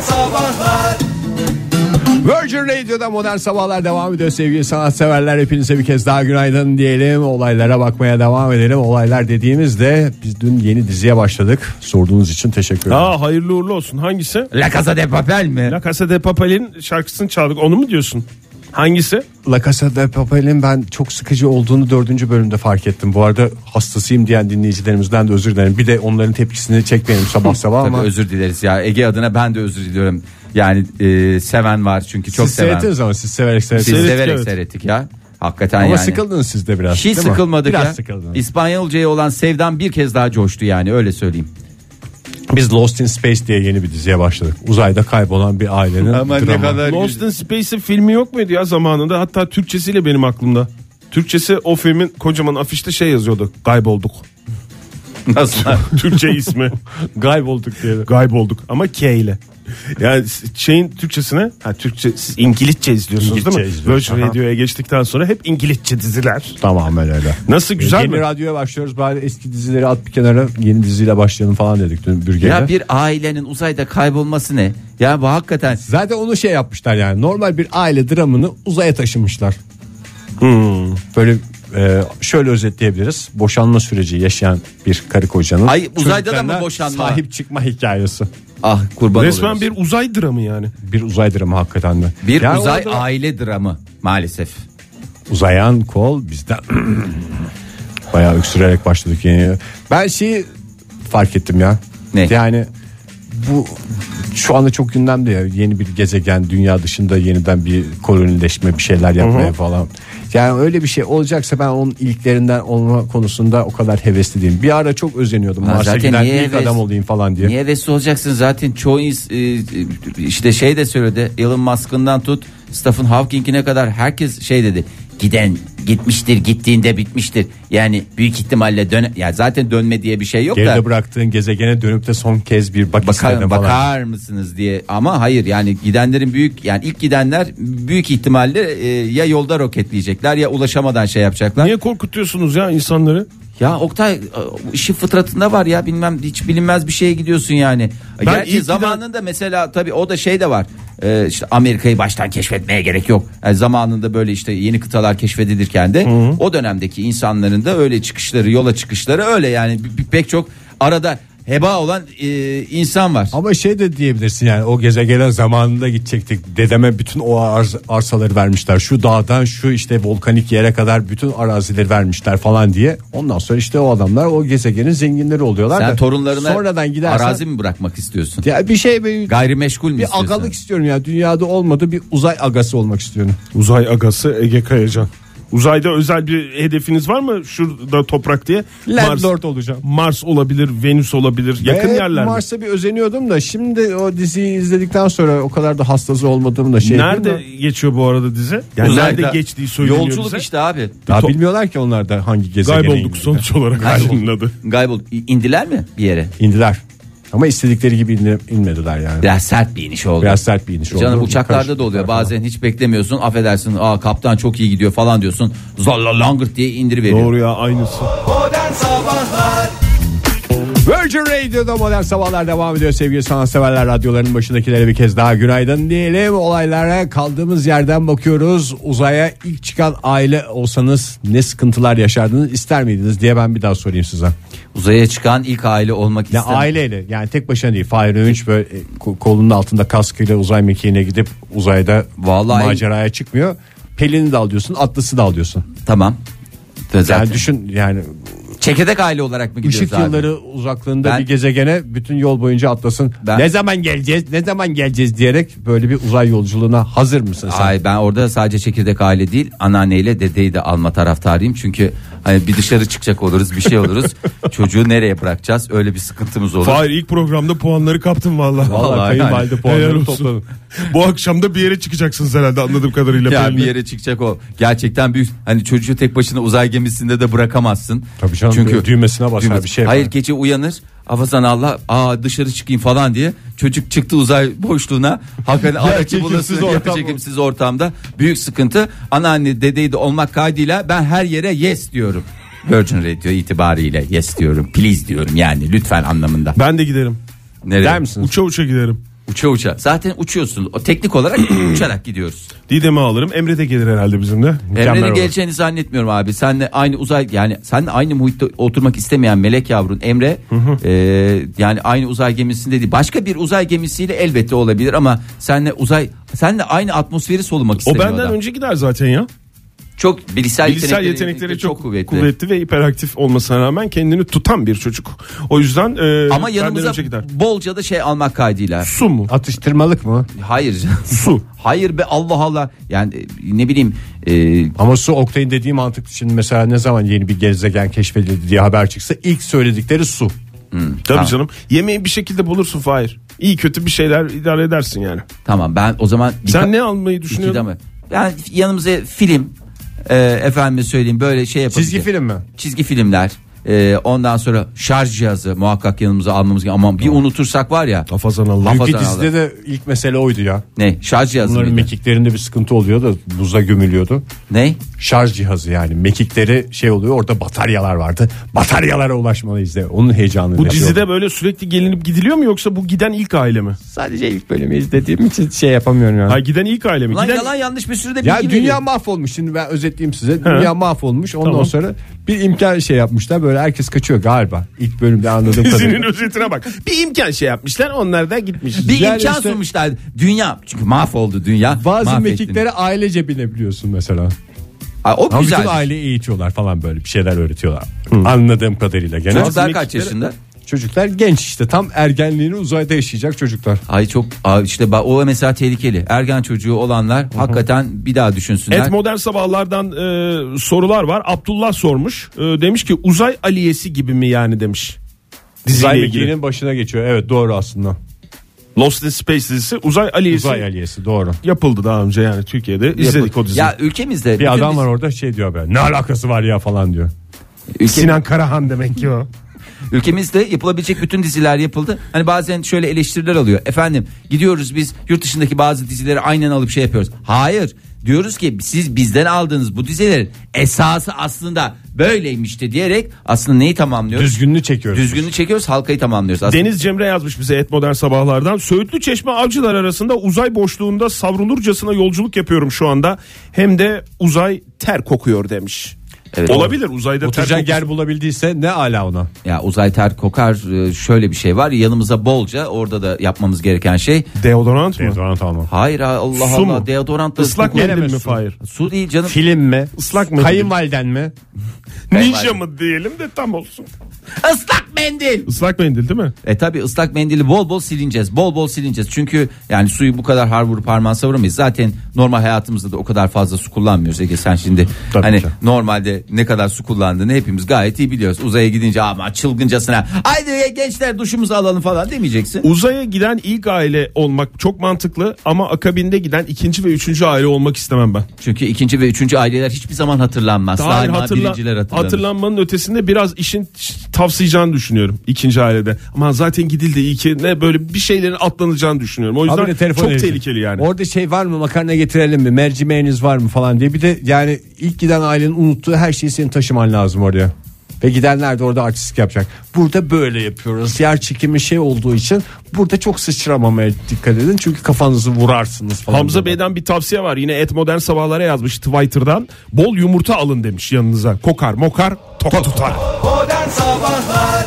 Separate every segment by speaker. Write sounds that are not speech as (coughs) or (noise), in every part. Speaker 1: Sabahlar
Speaker 2: Virgin Radio'da modern sabahlar devam ediyor sevgili sanatseverler hepinize bir kez daha günaydın diyelim olaylara bakmaya devam edelim olaylar dediğimizde biz dün yeni diziye başladık sorduğunuz için teşekkür ederim.
Speaker 3: Aa hayırlı uğurlu olsun. Hangisi?
Speaker 4: La Casa de Papel mi?
Speaker 3: La Casa de Papel'in şarkısını çaldık. Onu mu diyorsun? Hangisi?
Speaker 2: La Casa de Papel'in ben çok sıkıcı olduğunu dördüncü bölümde fark ettim bu arada hastasıyım diyen dinleyicilerimizden de özür dilerim bir de onların tepkisini çekmeyelim sabah sabah
Speaker 4: Tabii
Speaker 2: ama
Speaker 4: özür dileriz ya. Ege adına ben de özür diliyorum. Yani e, seven var çünkü çok
Speaker 2: siz
Speaker 4: seven.
Speaker 2: seyrettiniz ama siz severek
Speaker 4: Siz
Speaker 2: seyrettiniz.
Speaker 3: Seyrettik,
Speaker 4: severek
Speaker 3: evet.
Speaker 4: seyrettik ya. Hakikaten
Speaker 2: Ama
Speaker 4: yani.
Speaker 2: sıkıldınız siz de biraz.
Speaker 4: Hiç
Speaker 2: değil mi?
Speaker 4: sıkılmadık
Speaker 2: biraz
Speaker 4: ya.
Speaker 2: sıkıldınız.
Speaker 4: İspanyolcaya olan sevdam bir kez daha coştu yani öyle söyleyeyim.
Speaker 2: Biz Lost in Space diye yeni bir diziye başladık. Uzayda kaybolan bir ailenin
Speaker 5: Ama ne
Speaker 2: dramı.
Speaker 5: kadar
Speaker 3: Lost in Space'in filmi yok muydu ya zamanında? Hatta Türkçesiyle benim aklımda. Türkçesi o filmin kocaman afişte şey yazıyordu. Kaybolduk.
Speaker 4: (laughs) Nasıl?
Speaker 3: Türkçe ismi.
Speaker 2: Kaybolduk diye.
Speaker 3: Kaybolduk ama K ile. Yani şeyin Türkçesine ha Türkçe siz İngilizce izliyorsunuz değil mi?
Speaker 2: İngilizce izliyoruz,
Speaker 3: Virgin Radio'ya geçtikten sonra hep İngilizce diziler.
Speaker 2: Tamamen öyle.
Speaker 3: Nasıl güzel
Speaker 2: yeni
Speaker 3: mi?
Speaker 2: radyoya başlıyoruz bari eski dizileri at bir kenara yeni diziyle başlayalım falan dedik dün bürgeye.
Speaker 4: ya bir ailenin uzayda kaybolması ne? Ya bu hakikaten
Speaker 2: Zaten onu şey yapmışlar yani normal bir aile dramını uzaya taşımışlar.
Speaker 4: Hmm.
Speaker 2: Böyle e, şöyle özetleyebiliriz. Boşanma süreci yaşayan bir karı kocanın.
Speaker 4: Ay, uzayda da mı
Speaker 2: çocuklarına
Speaker 4: boşanma?
Speaker 2: Sahip çıkma hikayesi.
Speaker 4: ah kurban
Speaker 3: Resmen
Speaker 4: oluyoruz.
Speaker 3: bir uzay dramı yani.
Speaker 2: Bir uzay dramı hakikaten de.
Speaker 4: bir
Speaker 2: Yani
Speaker 4: uzay
Speaker 2: orada-
Speaker 4: aile dramı maalesef.
Speaker 2: Uzayan kol bizden (clears throat) bayağı öksürerek başladık yeni. Ben şeyi fark ettim ya.
Speaker 4: Ne?
Speaker 2: Yani bu şu anda çok gündemde ya yeni bir gezegen dünya dışında yeniden bir kolonileşme bir şeyler yapmaya falan. Yani öyle bir şey olacaksa ben onun ilklerinden olma konusunda o kadar hevesli değilim. Bir ara çok özeniyordum
Speaker 4: Ha,
Speaker 2: Mars'a
Speaker 4: zaten
Speaker 2: giden
Speaker 4: niye
Speaker 2: ilk
Speaker 4: heves-
Speaker 2: adam olayım falan diye.
Speaker 4: Niye hevesli olacaksın zaten çoğu ins- e, e, işte şey de söyledi Elon Musk'ından tut Stephen Hawking'ine kadar herkes şey dedi giden gitmiştir gittiğinde bitmiştir yani büyük ihtimalle dön ya zaten dönme diye bir şey yok da
Speaker 2: Geride bıraktığın gezegene dönüp de son kez bir bak
Speaker 4: bakar,
Speaker 2: istedim falan.
Speaker 4: bakar mısınız diye ama hayır yani gidenlerin büyük yani ilk gidenler büyük ihtimalle e, ya yolda roketleyecekler ya ulaşamadan şey yapacaklar.
Speaker 3: Niye korkutuyorsunuz ya insanları?
Speaker 4: Ya Oktay e, işi fıtratında var ya bilmem hiç bilinmez bir şeye gidiyorsun yani. E,
Speaker 3: Ben
Speaker 4: Gerçi
Speaker 3: ilk giden-
Speaker 4: zamanında mesela tabii o da şey de var. E, işte Amerika'yı baştan keşfetmeye gerek yok. Yani zamanında böyle işte yeni kıtalar keşfedilirken de o dönemdeki insanların da öyle çıkışları yola çıkışları öyle yani bir- bir- pek çok arada heba olan e, insan var.
Speaker 2: Ama şey de diyebilirsin yani o gezegene zamanında gidecektik. Dedeme bütün o arz- arsaları vermişler. Şu dağdan şu işte volkanik yere kadar bütün arazileri vermişler falan diye. Ondan sonra işte o adamlar o gezegenin zenginleri oluyorlar
Speaker 4: Sen
Speaker 2: da.
Speaker 4: torunlarına
Speaker 2: sonradan gidersen
Speaker 4: arazi mi bırakmak istiyorsun?
Speaker 2: ya bir şey bir,
Speaker 4: Gayrimeşgul mü
Speaker 2: bir
Speaker 4: istiyorsun?
Speaker 2: agalık istiyorum ya. Dünyada olmadı bir uzay agası olmak istiyorum.
Speaker 3: Uzay agası Ege Kayacan. Uzayda özel bir hedefiniz var mı? Şurada toprak diye.
Speaker 2: Landlord olacağım.
Speaker 3: Mars olabilir, Venüs olabilir. (laughs) Yakın
Speaker 2: Ve
Speaker 3: yerler mi?
Speaker 2: Mars'a bir özeniyordum da şimdi o diziyi izledikten sonra o kadar da hastası olmadığım da şey.
Speaker 3: nerede
Speaker 2: değil mi?
Speaker 3: geçiyor bu arada dizi? Yani
Speaker 4: Uzayda-
Speaker 3: nerede geçtiği söyleniyor
Speaker 4: Yolculuk
Speaker 3: bize.
Speaker 4: işte abi.
Speaker 2: Daha bilmiyorlar ki onlar da hangi gezegene
Speaker 3: Kaybolduk
Speaker 2: indiler.
Speaker 3: sonuç olarak albümün adı.
Speaker 4: Kaybolduk. İ- indiler mi bir yere?
Speaker 2: İndiler. Ama istedikleri gibi inle- inmediler yani.
Speaker 4: Biraz sert bir iniş oldu. E
Speaker 2: Biraz sert bir iniş oldu.
Speaker 4: Canım
Speaker 2: Bir
Speaker 4: uçaklarda
Speaker 2: karışıklık
Speaker 4: da oluyor.
Speaker 2: var
Speaker 4: Bazen hiç beklemiyorsun. Affedersin. Aa kaptan çok iyi gidiyor falan diyorsun. Zalla langırt diye indiriveriyor.
Speaker 3: Doğru ya aynısı.
Speaker 1: Modern Sabahlar
Speaker 2: Virgin Radio'da modern sabahlar devam ediyor sevgili sanatseverler. Radyoların başındakilere bir kez daha günaydın diyelim. Olaylara kaldığımız yerden bakıyoruz. Uzaya ilk çıkan aile olsanız ne sıkıntılar yaşardınız ister miydiniz diye ben bir daha sorayım size.
Speaker 4: Uzaya çıkan ilk aile olmak
Speaker 2: Ya
Speaker 4: istemem.
Speaker 2: aileyle yani tek başına değil. Fahir Öğünç böyle e, ko- kolunun altında kaskıyla uzay mekiğine gidip uzayda
Speaker 4: Vallahi-
Speaker 2: maceraya çıkmıyor. Pelin'i de alıyorsun, Atlas'ı da alıyorsun.
Speaker 4: Tamam. Zaten.
Speaker 2: Yani düşün yani
Speaker 4: Çekirdek aile olarak mı gidiyoruz
Speaker 2: Işık
Speaker 4: abi?
Speaker 2: yılları uzaklığında
Speaker 4: Ben-
Speaker 2: bir gezegene bütün yol boyunca atlasın.
Speaker 4: Ben-
Speaker 2: Ne zaman geleceğiz? Ne zaman geleceğiz diyerek böyle bir uzay yolculuğuna hazır mısın sen?
Speaker 4: Ay ben orada sadece çekirdek aile değil anneanneyle dedeyi de alma taraftarıyım. Çünkü hani bir dışarı çıkacak oluruz bir
Speaker 2: (laughs)
Speaker 4: şey oluruz. Çocuğu nereye bırakacağız öyle bir sıkıntımız olur.
Speaker 3: Hayır ilk programda puanları kaptın valla.
Speaker 4: Vallahi
Speaker 2: kayınvalide puanları
Speaker 3: topladın. Bu akşam da bir yere çıkacaksınız herhalde anladığım kadarıyla.
Speaker 4: Yani
Speaker 3: belli.
Speaker 4: bir yere çıkacak o. Gerçekten büyük. Hani çocuğu tek başına uzay gemisinde de bırakamazsın.
Speaker 2: Tabii canım, bir düğmesine basar, bir şey yapar.
Speaker 4: Hayır gece uyanır. Hafazan Allah aa dışarı çıkayım falan diye. Çocuk çıktı uzay boşluğuna.
Speaker 2: (laughs)
Speaker 4: Hakikaten aracı bulasın.
Speaker 2: ortam.
Speaker 4: Çekimsiz ortamda. Büyük sıkıntı. Anneanne dedeyi de olmak kaydıyla ben her yere yes diyorum. Virgin Radio itibariyle yes diyorum. Please diyorum yani lütfen anlamında.
Speaker 3: Ben de giderim.
Speaker 4: Nereye?
Speaker 2: Der misin?
Speaker 3: Uça uça giderim.
Speaker 4: Uça uça. Zaten uçuyorsun. O
Speaker 2: (clears throat)
Speaker 4: teknik olarak uçarak gidiyoruz.
Speaker 3: Didem'i alırım. Emre de gelir herhalde bizimle. Mükemmel
Speaker 4: Emre'nin
Speaker 3: olur.
Speaker 4: geleceğini zannetmiyorum abi. Senle aynı uzay yani sen aynı muhitte oturmak istemeyen melek yavrun Emre e, yani aynı uzay gemisinde değil. Başka bir uzay gemisiyle elbette olabilir ama senle uzay senle aynı atmosferi solumak
Speaker 3: O
Speaker 4: istemiyor.
Speaker 3: benden
Speaker 4: adam.
Speaker 3: önce gider zaten ya.
Speaker 4: çok bilişsel,
Speaker 3: Bilişsel
Speaker 4: yetenekleri,
Speaker 3: yetenekleri çok, kuvvetli.
Speaker 4: kuvvetli.
Speaker 3: ve hiperaktif olmasına rağmen kendini tutan bir çocuk. O yüzden e,
Speaker 4: Ama
Speaker 3: benden
Speaker 4: yanımıza
Speaker 3: önce gider.
Speaker 4: bolca da şey almak kaydıyla.
Speaker 3: Su mu?
Speaker 2: Atıştırmalık mı?
Speaker 4: Hayır.
Speaker 3: Su.
Speaker 4: Hayır be Allah Allah. Yani e, ne bileyim e,
Speaker 2: Ama su Oktay'ın dediği mantıklı. Şimdi mesela ne zaman yeni bir gezegen keşfedildi diye haber çıksa ilk söyledikleri su.
Speaker 3: Tabii canım. Yemeği bir şekilde bulursun Fahir. İyi kötü bir şeyler idare edersin yani.
Speaker 4: Tamam ben o zaman
Speaker 3: Sen ne almayı
Speaker 4: düşünüyordun?
Speaker 3: düşünüyorsun?
Speaker 4: Ben yanımıza film e, efendime söyleyeyim böyle şey yapabilir.
Speaker 2: Çizgi film mi?
Speaker 4: Çizgi filmler. e, ondan sonra şarj cihazı muhakkak yanımıza almalımız gerekiyor. Aman bir unutursak var ya.
Speaker 3: Hafazan Allah.
Speaker 4: Kafa-
Speaker 2: Çünkü
Speaker 4: Bazen
Speaker 2: dizide de ilk mesele oydu ya.
Speaker 4: Ne? Şarj cihazı
Speaker 2: Bunların
Speaker 4: mıydı?
Speaker 2: mekiklerinde bir sıkıntı oluyor da buza gömülüyordu.
Speaker 4: Ne?
Speaker 2: Şarj cihazı yani mekikleri şey oluyor orada bataryalar vardı. Bataryalara ulaşmalıyız de onun heyecanı.
Speaker 3: Bu
Speaker 2: yaşıyor.
Speaker 3: dizide böyle sürekli gelinip gidiliyor mu yoksa bu giden ilk aile mi?
Speaker 5: Sadece ilk bölümü izlediğim için şey yapamıyorum yani.
Speaker 3: Ha giden ilk aile mi?
Speaker 4: Lan
Speaker 3: Giden-
Speaker 4: yalan yanlış bir sürü de bilgi
Speaker 2: Ya dünya
Speaker 4: veriyor.
Speaker 2: mahvolmuş şimdi ben özetleyeyim size. Dünya mahvolmuş ondan
Speaker 3: Tamam.
Speaker 2: sonra bir imkan şey yapmışlar böyle herkes kaçıyor galiba. İlk bölümde anladığım
Speaker 3: (laughs) Dizinin
Speaker 2: kadarıyla.
Speaker 3: özetine bak. Bir imkan şey yapmışlar onlar da gitmiş.
Speaker 4: Bir
Speaker 2: Yani
Speaker 4: imkan
Speaker 2: işte-
Speaker 4: sunmuşlar. Dünya çünkü mahvoldu dünya.
Speaker 2: Bazı
Speaker 4: Mahvettin.
Speaker 2: mekiklere ailece binebiliyorsun mesela.
Speaker 4: Ay, o
Speaker 2: Ama
Speaker 4: güzel.
Speaker 2: bütün aileyi eğitiyorlar falan böyle bir şeyler öğretiyorlar. Anladığım kadarıyla genel.
Speaker 4: Çocuklar
Speaker 3: Bazı
Speaker 4: kaç
Speaker 3: mekiklere-
Speaker 4: yaşında?
Speaker 2: Çocuklar genç işte tam ergenliğini uzayda yaşayacak çocuklar.
Speaker 4: Ay çok ay işte bak o mesela tehlikeli. Ergen çocuğu olanlar hakikaten bir daha düşünsünler.
Speaker 3: Et modern sabahlardan e, sorular var. Abdullah sormuş. E, demiş ki uzay aliyesi gibi mi yani demiş.
Speaker 2: Uzay
Speaker 3: Diziyle ilgili.
Speaker 2: mekiğinin başına geçiyor. Evet doğru aslında.
Speaker 3: Lost in Space dizisi uzay aliyesi
Speaker 2: Uzay aliyesi doğru.
Speaker 3: yapıldı daha önce yani Türkiye'de izledik o diziyi.
Speaker 4: Ya ülkemizde bütün
Speaker 2: Bir adam
Speaker 4: biz-
Speaker 2: var orada şey diyor ben. Ne alakası var ya falan diyor.
Speaker 4: ülke-
Speaker 2: Karahan demek ki o.
Speaker 4: Ülkemizde yapılabilecek bütün diziler yapıldı. Hani bazen şöyle eleştiriler alıyor. Efendim gidiyoruz biz yurt dışındaki bazı dizileri aynen alıp şey yapıyoruz. Hayır. Diyoruz ki siz bizden aldığınız bu dizilerin esası aslında böyleymişti diyerek aslında neyi tamamlıyoruz?
Speaker 2: Düzgününü çekiyoruz.
Speaker 4: Düzgünü çekiyoruz halkayı tamamlıyoruz. Aslında
Speaker 3: Deniz Cemre yazmış bize et modern sabahlardan. Söğütlü Çeşme avcılar arasında uzay boşluğunda savrulurcasına yolculuk yapıyorum şu anda. Hem de uzay ter kokuyor demiş.
Speaker 4: Evet.
Speaker 3: Olabilir uzayda ter
Speaker 2: Oturacak
Speaker 3: kokusu.
Speaker 2: yer bulabildiyse ne ala ona.
Speaker 4: ya uzay ter kokar e, şöyle bir şey var yanımıza bolca orada da yapmamız gereken şey.
Speaker 3: Deodorant mı?
Speaker 2: Deodorant alma.
Speaker 4: Hayır ha, Allah
Speaker 3: Su
Speaker 4: Allah
Speaker 3: mu?
Speaker 4: deodorant da
Speaker 3: Islak
Speaker 4: kokulu-
Speaker 3: mendil mi
Speaker 2: Veremezsin.
Speaker 3: Fahir?
Speaker 4: Su değil canım.
Speaker 2: Film mi?
Speaker 3: Islak mendil.
Speaker 2: Kayınvaliden mi?
Speaker 3: Ninja mı diyelim de tam olsun.
Speaker 4: Islak mendil.
Speaker 3: Islak mendil değil mi?
Speaker 4: E tabi ıslak mendili bol bol silineceğiz. Bol bol silineceğiz. Çünkü yani suyu bu kadar har vurup parmağa savuramayız. Zaten normal hayatımızda da o kadar fazla su kullanmıyoruz. Ege sen şimdi
Speaker 2: Tabii
Speaker 4: hani
Speaker 2: ki.
Speaker 4: normalde ne kadar su kullandığını hepimiz gayet iyi biliyoruz. Uzaya gidince ama çılgıncasına haydi gençler duşumuzu alalım falan demeyeceksin.
Speaker 3: Uzaya giden ilk aile olmak çok mantıklı ama akabinde giden ikinci ve üçüncü aile olmak istemem ben.
Speaker 4: Çünkü ikinci ve üçüncü aileler hiçbir zaman hatırlanmaz.
Speaker 3: Hayır,
Speaker 4: Daima
Speaker 3: hatırla-
Speaker 4: birinciler hatırlanır.
Speaker 3: hatırlanmanın ötesinde biraz işin tavsiyacağını düşünüyorum ikinci ailede. Ama zaten gidildi iyi ki ne böyle bir şeylerin atlanacağını düşünüyorum. O
Speaker 2: Habire
Speaker 3: yüzden
Speaker 2: telefon
Speaker 3: çok
Speaker 2: edecek.
Speaker 3: tehlikeli yani.
Speaker 2: Orada şey var mı makarna getirelim mi? Mercimeğiniz var mı falan diye. Bir de yani ilk giden ailenin unuttuğu her şeyi senin taşıman lazım oraya. Ve gidenler de orada artistlik yapacak. Burada böyle yapıyoruz. Yer çekimi şey olduğu için burada çok sıçramamaya dikkat edin. Çünkü kafanızı vurarsınız falan.
Speaker 3: Hamza
Speaker 2: diyorlar.
Speaker 3: Bey'den bir tavsiye var. Yine et modern sabahlara yazmış Twitter'dan. Bol yumurta alın demiş yanınıza. Kokar mokar toka tutar.
Speaker 1: Modern Sabahlar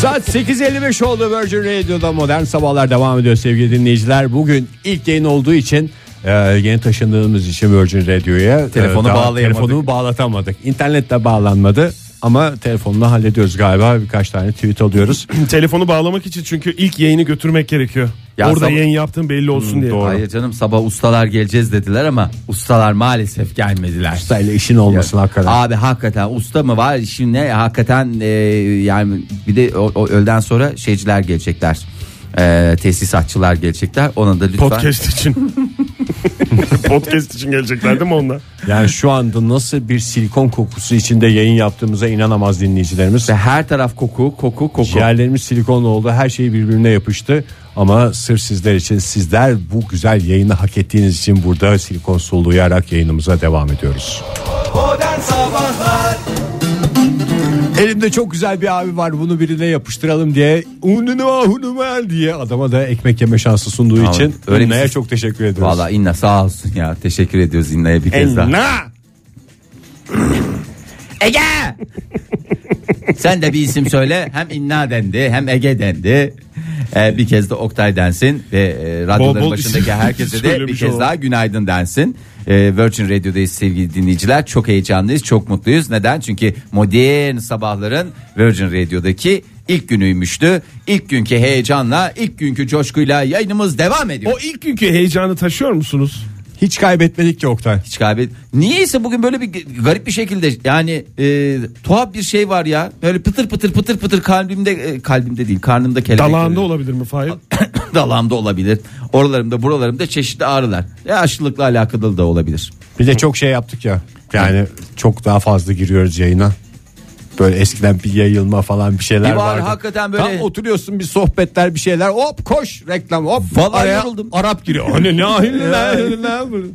Speaker 2: Saat 8.55 oldu Virgin Radio'da modern sabahlar devam ediyor sevgili dinleyiciler. Bugün ilk yayın olduğu için e, yeni taşındığımız için Virgin Radio'ya e,
Speaker 4: Telefonu
Speaker 2: daha
Speaker 4: bağlayamadık.
Speaker 2: Telefonu bağlatamadık. İnternet de bağlanmadı ama telefonla hallediyoruz galiba. Birkaç tane tweet alıyoruz.
Speaker 3: (clears throat) Telefonu bağlamak için çünkü ilk yayını götürmek gerekiyor.
Speaker 4: Ya
Speaker 3: Orada
Speaker 4: sabah-
Speaker 3: yayın yaptığın belli olsun diye.
Speaker 4: Hayır canım sabah ustalar geleceğz dediler ama ustalar maalesef gelmediler.
Speaker 2: Ustayla işin olmasın hakikaten.
Speaker 4: Abi hakikaten usta mı var şimdi ne hakikaten e, yani bir de o, o öğleden sonra şeyciler gelecekler. E, tesisatçılar gelecekler. Ona da lütfen
Speaker 3: Podcast için. (laughs) Podcast için gelecekler değil mi onlar?
Speaker 2: Yani şu anda nasıl bir silikon kokusu içinde yayın yaptığımıza inanamaz dinleyicilerimiz.
Speaker 4: ve her taraf koku koku koku.
Speaker 2: Ciğerlerimiz silikonlu oldu. Her şey birbirine yapıştı. Ama sırf sizler için sizler bu güzel yayını hak ettiğiniz için burada silikon soluyarak yayınımıza devam ediyoruz.
Speaker 1: Modern Sabahlar
Speaker 2: Elimde çok güzel bir abi var bunu birine yapıştıralım diye ununu ununu diye adama da ekmek yeme şansı sunduğu
Speaker 4: Tamam,
Speaker 2: için
Speaker 4: öyle bir
Speaker 2: Unna'ya
Speaker 4: ses-
Speaker 2: çok teşekkür ediyoruz.
Speaker 4: Valla İnna sağ olsun ya. Teşekkür ediyoruz İnna'ya bir kez daha.
Speaker 3: Enna.
Speaker 4: Ege! Sen de bir isim söyle. Hem İnna dendi hem Ege dendi. Ee, bir kez de Oktay densin ve e, radyoların
Speaker 3: Bol bol
Speaker 4: başındaki
Speaker 3: isim
Speaker 4: herkese de bir
Speaker 3: söylemiş
Speaker 4: kez
Speaker 3: olalım.
Speaker 4: daha günaydın densin. Ee, Virgin Radio'dayız sevgili dinleyiciler. Çok heyecanlıyız, çok mutluyuz. Neden? Çünkü modern sabahların Virgin Radio'daki ilk günüymüştü. İlk günkü heyecanla, ilk günkü coşkuyla yayınımız devam ediyor.
Speaker 3: O ilk günkü heyecanı taşıyor musunuz?
Speaker 2: Hiç kaybetmedik ki Oktay.
Speaker 4: Hiç kahve. Niyeyse bugün böyle bir garip bir şekilde yani e, tuhaf bir şey var ya. Böyle pıtır pıtır pıtır pıtır kalbimde e, kalbimde değil karnımda kelebek.
Speaker 3: Dalağında olabilir mi Fahir?
Speaker 4: (coughs) Dalağımda olabilir. Oralarımda buralarımda çeşitli ağrılar. Ya aşılıkla alakalı da olabilir.
Speaker 2: Bir de çok şey yaptık ya. Yani çok daha fazla giriyoruz yayına. Böyle eskiden bir yayılma falan bir şeyler
Speaker 4: Bir var,
Speaker 2: vardı.
Speaker 4: hakikaten böyle-
Speaker 2: Tam oturuyorsun bir sohbetler bir şeyler hop koş reklam hop.
Speaker 4: Vallahi
Speaker 2: araya
Speaker 4: yoruldum.
Speaker 2: Arap giriyor. (laughs)
Speaker 3: Hani ne ahil-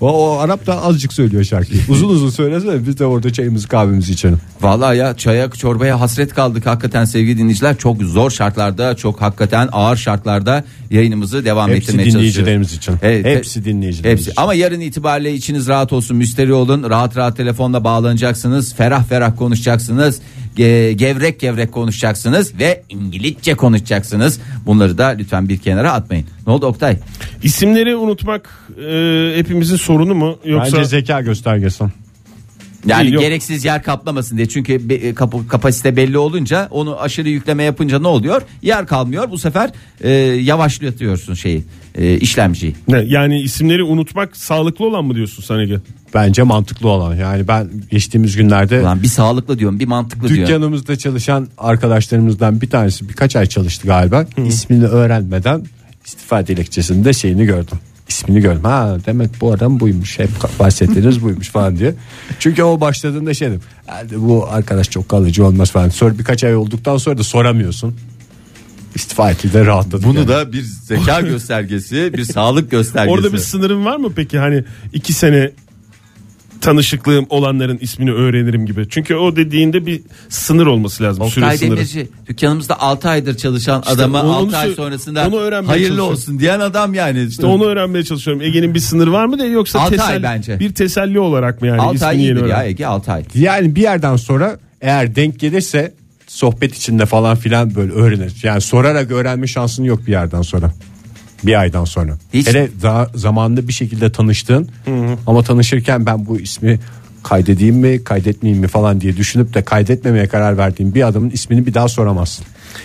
Speaker 2: o, o Arap da azıcık söylüyor şarkıyı. (laughs) Uzun uzun söylesene biz de orada çayımızı kahvemizi içelim.
Speaker 4: Vallahi ya çaya çorbaya hasret kaldık hakikaten sevgili dinleyiciler. Çok zor şartlarda çok hakikaten ağır şartlarda yayınımızı devam
Speaker 2: Hepsi
Speaker 4: ettirmeye çalışıyoruz.
Speaker 2: dinleyicilerimiz için. Hepsi dinleyicilerimiz
Speaker 4: Hepsi.
Speaker 2: için.
Speaker 4: Ama yarın itibariyle içiniz rahat olsun müsteri olun. Rahat rahat telefonla bağlanacaksınız. Ferah ferah konuşacaksınız. Ge- gevrek gevrek konuşacaksınız. Ve İngilizce konuşacaksınız. Bunları da lütfen bir kenara atmayın. Ne oldu Oktay?
Speaker 3: İsimleri unutmak e, hepimizin sorunu mu yoksa
Speaker 2: Bence zeka göstergesi.
Speaker 4: Yani
Speaker 3: Değil, yok.
Speaker 4: gereksiz yer kaplamasın diye. Çünkü be- e, kap- kapasite belli olunca onu aşırı yükleme yapınca ne oluyor? Yer kalmıyor. Bu sefer e, yavaşlatıyorsun şeyi. E, işlemciyi.
Speaker 3: Ne, yani isimleri unutmak sağlıklı olan mı diyorsun sen Ege?
Speaker 2: Bence mantıklı olan. Yani ben geçtiğimiz günlerde
Speaker 4: Ulan bir sağlıklı diyorum, bir mantıklı diyorum.
Speaker 2: Dükkanımızda çalışan arkadaşlarımızdan bir tanesi birkaç ay çalıştı galiba. İsmini öğrenmeden istifa dilekçesinde şeyini gördüm. İsmini gördüm. Ha demek bu adam buymuş. Hep bahsettiğiniz buymuş falan diye. Çünkü o başladığında şey dedim. "Hadi bu arkadaş çok kalıcı olmaz falan. Sonra birkaç ay olduktan sonra da soramıyorsun. İstifa etti de rahatladım. yani.
Speaker 4: da bir zeka göstergesi,
Speaker 3: (laughs)
Speaker 4: bir sağlık göstergesi.
Speaker 3: Orada bir sınırın var mı peki hani iki sene tanışıklığım olanların ismini öğrenirim gibi. Çünkü o dediğinde bir sınır olması lazım. süre
Speaker 4: Oktay
Speaker 3: sınırı.
Speaker 4: Demirci dükkanımızda 6 aydır çalışan adama
Speaker 3: onu-
Speaker 4: 6
Speaker 3: onu
Speaker 4: ay
Speaker 3: sö-
Speaker 4: sonrasında
Speaker 3: onu öğrenmeye
Speaker 4: hayırlı
Speaker 3: çalışıyorum.
Speaker 4: olsun diyen adam yani.
Speaker 3: İşte onu öğrenmeye çalışıyorum. Ege'nin bir sınırı var mı diye yoksa
Speaker 4: Altı ay
Speaker 3: teselli-
Speaker 4: bence.
Speaker 3: bir teselli olarak mı yani
Speaker 4: 6
Speaker 3: ismini
Speaker 4: ay
Speaker 3: yeni
Speaker 4: iyidir ya
Speaker 3: öğren-
Speaker 4: Ege 6 ay.
Speaker 2: Yani bir yerden sonra eğer denk gelirse sohbet içinde falan filan böyle öğrenir. Yani sorarak öğrenme şansın yok bir yerden sonra. Bir aydan sonra.
Speaker 4: Hiç-
Speaker 2: Hele daha zamanında bir şekilde tanıştın ama tanışırken ben bu ismi kaydedeyim mi kaydetmeyeyim mi falan diye düşünüp de kaydetmemeye karar verdiğim bir adamın ismini bir daha soramazsın.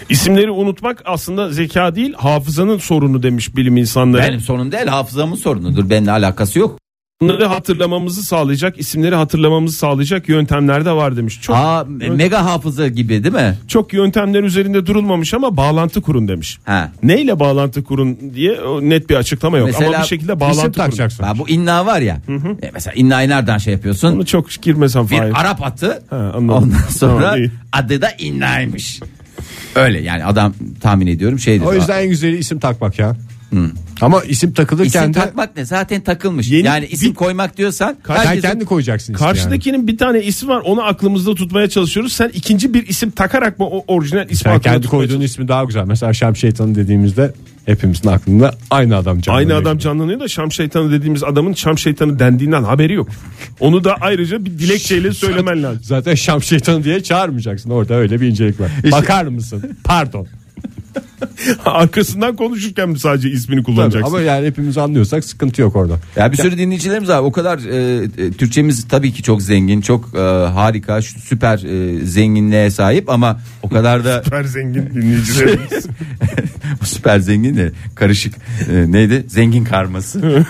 Speaker 3: İsimleri unutmak aslında zeka değil hafızanın sorunu demiş bilim insanları.
Speaker 4: Benim sorunum değil hafızamın sorunudur. Benimle alakası yok.
Speaker 3: Bunları hatırlamamızı sağlayacak, isimleri hatırlamamızı sağlayacak yöntemler de var demiş. Çok
Speaker 4: Aa me- mega hafıza gibi değil mi?
Speaker 3: çok yöntemler üzerinde durulmamış ama bağlantı kurun demiş.
Speaker 4: Ha.
Speaker 3: Neyle bağlantı kurun diye o net bir açıklama yok
Speaker 4: Mesela
Speaker 3: ama bir şekilde
Speaker 2: İsim
Speaker 3: bağlantı kurun.
Speaker 2: takacaksın.
Speaker 4: Ha, bu inna var ya. E, mesela inna'yı nereden şey yapıyorsun?
Speaker 3: Bunu çok girmesem
Speaker 4: bir
Speaker 3: fayda.
Speaker 4: Arap atı.
Speaker 3: Ha, anladım.
Speaker 4: ondan sonra
Speaker 3: Tamam, iyi.
Speaker 4: adı da innaymış. Öyle yani adam tahmin ediyorum şey dedi.
Speaker 2: O yüzden en güzeli isim takmak ya. Ama isim takılırken
Speaker 4: İsim
Speaker 2: de
Speaker 4: takmak ne? Zaten takılmış.
Speaker 3: Yeni-
Speaker 4: yani isim
Speaker 3: bir-
Speaker 4: koymak diyorsan
Speaker 2: sen
Speaker 4: herkesin-
Speaker 2: kendi koyacaksın ismi yani.
Speaker 3: Karşıdakinin bir tane ismi var onu aklımızda tutmaya çalışıyoruz. Sen ikinci bir isim takarak mı o orijinal ismi
Speaker 2: Sen
Speaker 3: aklına
Speaker 2: kendi
Speaker 3: tutmaya
Speaker 2: koyduğun ismi daha güzel. Mesela Şam Şeytanı dediğimizde hepimizin aklında aynı adam canlanıyor.
Speaker 3: Aynı adam canlanıyor da Şam şeytanı dediğimiz adamın Şam şeytanı dendiğinden haberi yok. Onu da ayrıca bir dilekçeyle söylemen lazım. (laughs)
Speaker 2: Zaten Şam Şeytanı diye çağırmayacaksın. Orada öyle bir incelik var. Bakar mısın? (laughs) Pardon.
Speaker 3: Arkasından konuşurken mi sadece ismini
Speaker 2: Tabii,
Speaker 3: kullanacaksın?
Speaker 2: ama yani hepimiz anlıyorsak sıkıntı yok (laughs) orada.
Speaker 4: Ya bir sürü dinleyicilerimiz var. O kadar e, e, Türkçemiz tabii ki çok zengin, çok e, harika, şu- süper e, zenginliğe sahip ama o kadar da
Speaker 3: Süper zengin
Speaker 2: (laughs)
Speaker 3: dinleyicilerimiz.
Speaker 4: Bu süper zengin de karışık e, neydi? Zengin karması.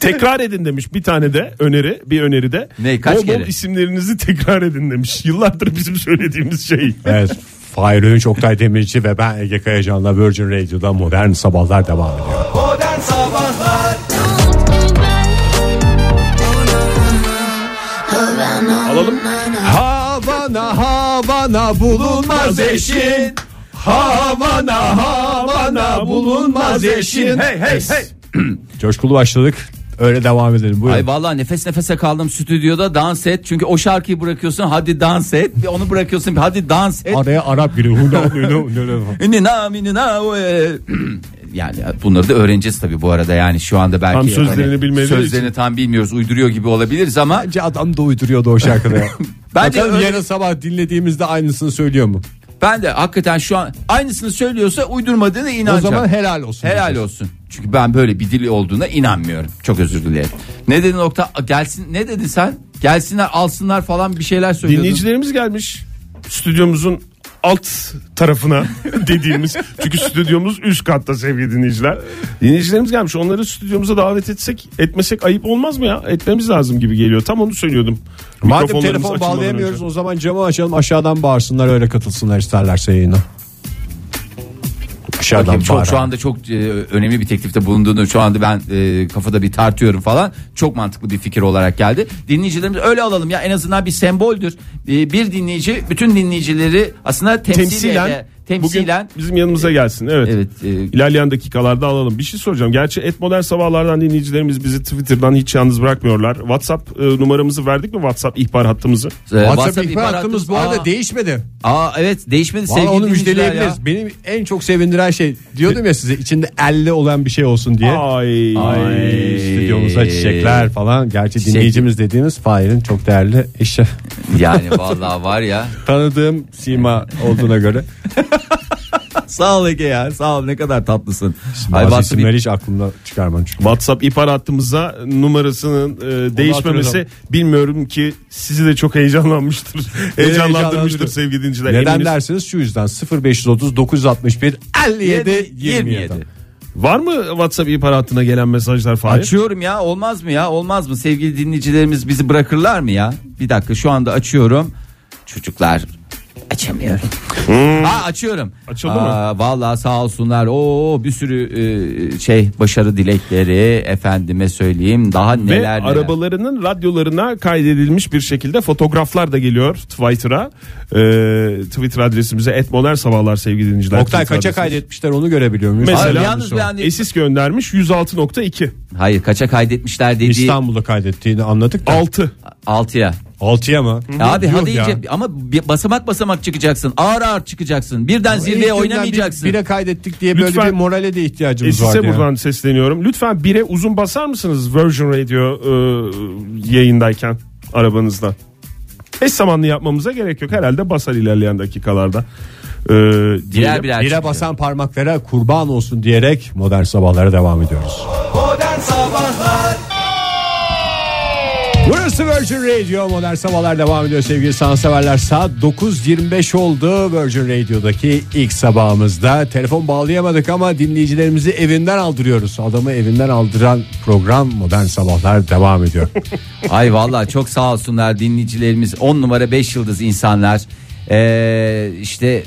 Speaker 3: tekrar edin demiş bir tane de öneri bir öneri de.
Speaker 4: Ne, kaç
Speaker 3: bol
Speaker 4: kere?
Speaker 3: bol isimlerinizi tekrar edin demiş. Yıllardır bizim söylediğimiz şey.
Speaker 2: Evet. Fahir Öğünç, Oktay Demirci ve ben Ege Kayacan'la Virgin Radio'da modern sabahlar devam ediyor.
Speaker 1: Modern Sabahlar
Speaker 3: Alalım.
Speaker 2: Havana Havana bulunmaz eşin. Havana Havana bulunmaz eşin.
Speaker 3: hey hey.
Speaker 2: Coşkulu başladık. Öyle devam edelim. Buyurun.
Speaker 4: Ay vallahi nefes nefese kaldım stüdyoda dans et. Çünkü o şarkıyı bırakıyorsun hadi dans et. Bir onu bırakıyorsun bir hadi dans et.
Speaker 2: Araya Arap (laughs) giriyor. Huna, huna, huna, huna.
Speaker 4: Nina, minina, ve- e. (clears throat) yani bunları da öğreneceğiz tabii bu arada yani şu anda belki hani
Speaker 3: Tam sözlerini bilmediği
Speaker 4: sözlerini tam bilmiyoruz uyduruyor gibi olabiliriz ama
Speaker 2: Bence adam da uyduruyordu o şarkıda. ya. (laughs)
Speaker 4: Bence
Speaker 2: Bakalım
Speaker 4: öyle-
Speaker 2: yarın sabah dinlediğimizde aynısını söylüyor mu?
Speaker 4: ben de hakikaten şu an aynısını söylüyorsa uydurmadığına inanacağım.
Speaker 2: O zaman helal olsun.
Speaker 4: Helal olsun. Çünkü ben böyle bir dil olduğuna inanmıyorum. Çok özür dilerim. Ne dedin nokta gelsin ne dedin sen? Gelsinler alsınlar falan bir şeyler söylüyordun.
Speaker 3: Dinleyicilerimiz gelmiş stüdyomuzun alt
Speaker 2: (laughs)
Speaker 3: tarafına dediğimiz çünkü stüdyomuz üst katta sevgili dinleyiciler. Dinleyicilerimiz gelmiş onları stüdyomuza davet etsek etmesek ayıp olmaz mı ya? Etmemiz lazım gibi geliyor tam onu söylüyordum.
Speaker 2: Madem
Speaker 3: Mikrofonlarımız
Speaker 2: telefon
Speaker 3: açılmadan
Speaker 2: bağlayamıyoruz
Speaker 3: önce.
Speaker 2: o zaman camı açalım aşağıdan bağırsınlar öyle katılsınlar isterlerse yayına. Aşağıdan
Speaker 4: Bakayım, çok,
Speaker 2: bağır.
Speaker 4: şu anda çok e, önemli bir teklifte bulunduğunu şu anda ben e, kafada bir tartıyorum falan. Çok mantıklı bir fikir olarak geldi. Dinleyicilerimiz öyle alalım ya en azından bir semboldür. E, bir dinleyici bütün dinleyicileri aslında temsilen
Speaker 3: temsilen,
Speaker 4: ede- temsilen
Speaker 3: bugün bizim yanımıza gelsin. Evet.
Speaker 4: evet e,
Speaker 3: İlerleyen dakikalarda alalım. Bir şey soracağım. Gerçi et modern sabahlardan dinleyicilerimiz bizi Twitter'dan hiç yalnız bırakmıyorlar. WhatsApp e, numaramızı verdik mi? WhatsApp ihbar hattımızı.
Speaker 4: e,
Speaker 2: Ee, WhatsApp,
Speaker 4: ihbar
Speaker 2: ihbar hattımız bu arada
Speaker 4: Aa,
Speaker 2: değişmedi.
Speaker 4: Aa evet değişmedi
Speaker 2: Vallahi
Speaker 4: sevgili
Speaker 2: onu
Speaker 4: dinleyiciler ya.
Speaker 2: müjdeleyebiliriz. Benim en çok sevindiren şey diyordum ya size içinde 50 olan bir şey olsun diye.
Speaker 3: Ay.
Speaker 4: Ay.
Speaker 2: Stüdyomuza çiçekler falan. Gerçi
Speaker 4: Çiçek.
Speaker 2: dinleyicimiz dediğimiz Fahir'in çok değerli eşi.
Speaker 4: Yani vallahi var ya.
Speaker 2: Tanıdığım sima olduğuna göre.
Speaker 4: (laughs) sağ ol Ege ya. Sağ ol ne kadar tatlısın. Ay,
Speaker 2: Bazı
Speaker 4: WhatsApp-
Speaker 2: isimleri hiç aklımda çıkarmam çünkü.
Speaker 3: WhatsApp ihbar hattımıza numarasının e, değişmemesi
Speaker 2: hatırladım.
Speaker 3: bilmiyorum ki sizi de çok heyecanlanmıştır. (laughs) Heyecanlandırmıştır
Speaker 2: heyecanlandırıyor.
Speaker 3: sevgili dinleyiciler.
Speaker 2: Neden
Speaker 3: Eminiz-
Speaker 2: derseniz şu yüzden 0530 961 57 27.
Speaker 3: Var mı WhatsApp ihbar hattına gelen mesajlar Fahir?
Speaker 4: Açıyorum ya olmaz mı ya olmaz mı sevgili dinleyicilerimiz bizi bırakırlar mı ya? Bir dakika şu anda açıyorum. Çocuklar açamıyorum. Ha açıyorum.
Speaker 3: Hmm. Açıldı
Speaker 4: Aa, Vallahi sağ olsunlar. Oo bir sürü e, şey başarı dilekleri efendime söyleyeyim daha
Speaker 3: Ve
Speaker 4: neler neler.
Speaker 3: arabalarının radyolarına kaydedilmiş bir şekilde fotoğraflar da geliyor Twitter'a. E, Twitter adresimize et sabahlar sevgili dinleyiciler.
Speaker 2: Oktay kaça
Speaker 3: Twitter adresimiz.
Speaker 2: kaydetmişler onu görebiliyor muyuz?
Speaker 3: Mesela-
Speaker 4: Ay,
Speaker 3: Selam
Speaker 4: yalnız ben
Speaker 3: Esis göndermiş 106.2.
Speaker 4: hayır kaça kaydetmişler dediği
Speaker 2: İstanbul'da kaydettiğini anladık da.
Speaker 3: 6.
Speaker 4: 6'ya.
Speaker 2: 6'ya mı?
Speaker 4: Abi
Speaker 2: Yok
Speaker 4: hadi
Speaker 2: ya.
Speaker 4: iyice ama bir basamak basamak çıkacaksın. Ağır ağır çıkacaksın. Birden
Speaker 2: İlk
Speaker 4: zirveye
Speaker 2: günden
Speaker 4: oynamayacaksın.
Speaker 2: Bir, bire kaydettik diye
Speaker 3: Lütfen.
Speaker 2: böyle bir morale de ihtiyacımız var.
Speaker 3: Esis'e buradan sesleniyorum. Lütfen bire uzun basar mısınız Virgin Radio e, yayındayken arabanızda? Eş zamanlı yapmamıza gerek yok. Herhalde basar ilerleyen dakikalarda. E, diyelim.
Speaker 4: birer birer.
Speaker 2: Bire
Speaker 4: çıkıyor.
Speaker 2: basan parmaklara kurban olsun diyerek modern sabahlara devam ediyoruz.
Speaker 1: Modern Sabahlar
Speaker 2: Burası Virgin Radio Modern Sabahlar devam ediyor sevgili sanatseverler. Saat 9.25 oldu Virgin Radio'daki ilk sabahımızda. Telefon bağlayamadık ama dinleyicilerimizi evinden aldırıyoruz. Adamı evinden aldıran program Modern Sabahlar devam
Speaker 4: (laughs)
Speaker 2: ediyor.
Speaker 4: Ay vallahi çok sağ olsunlar dinleyicilerimiz 10 numara 5 yıldız insanlar ee, işte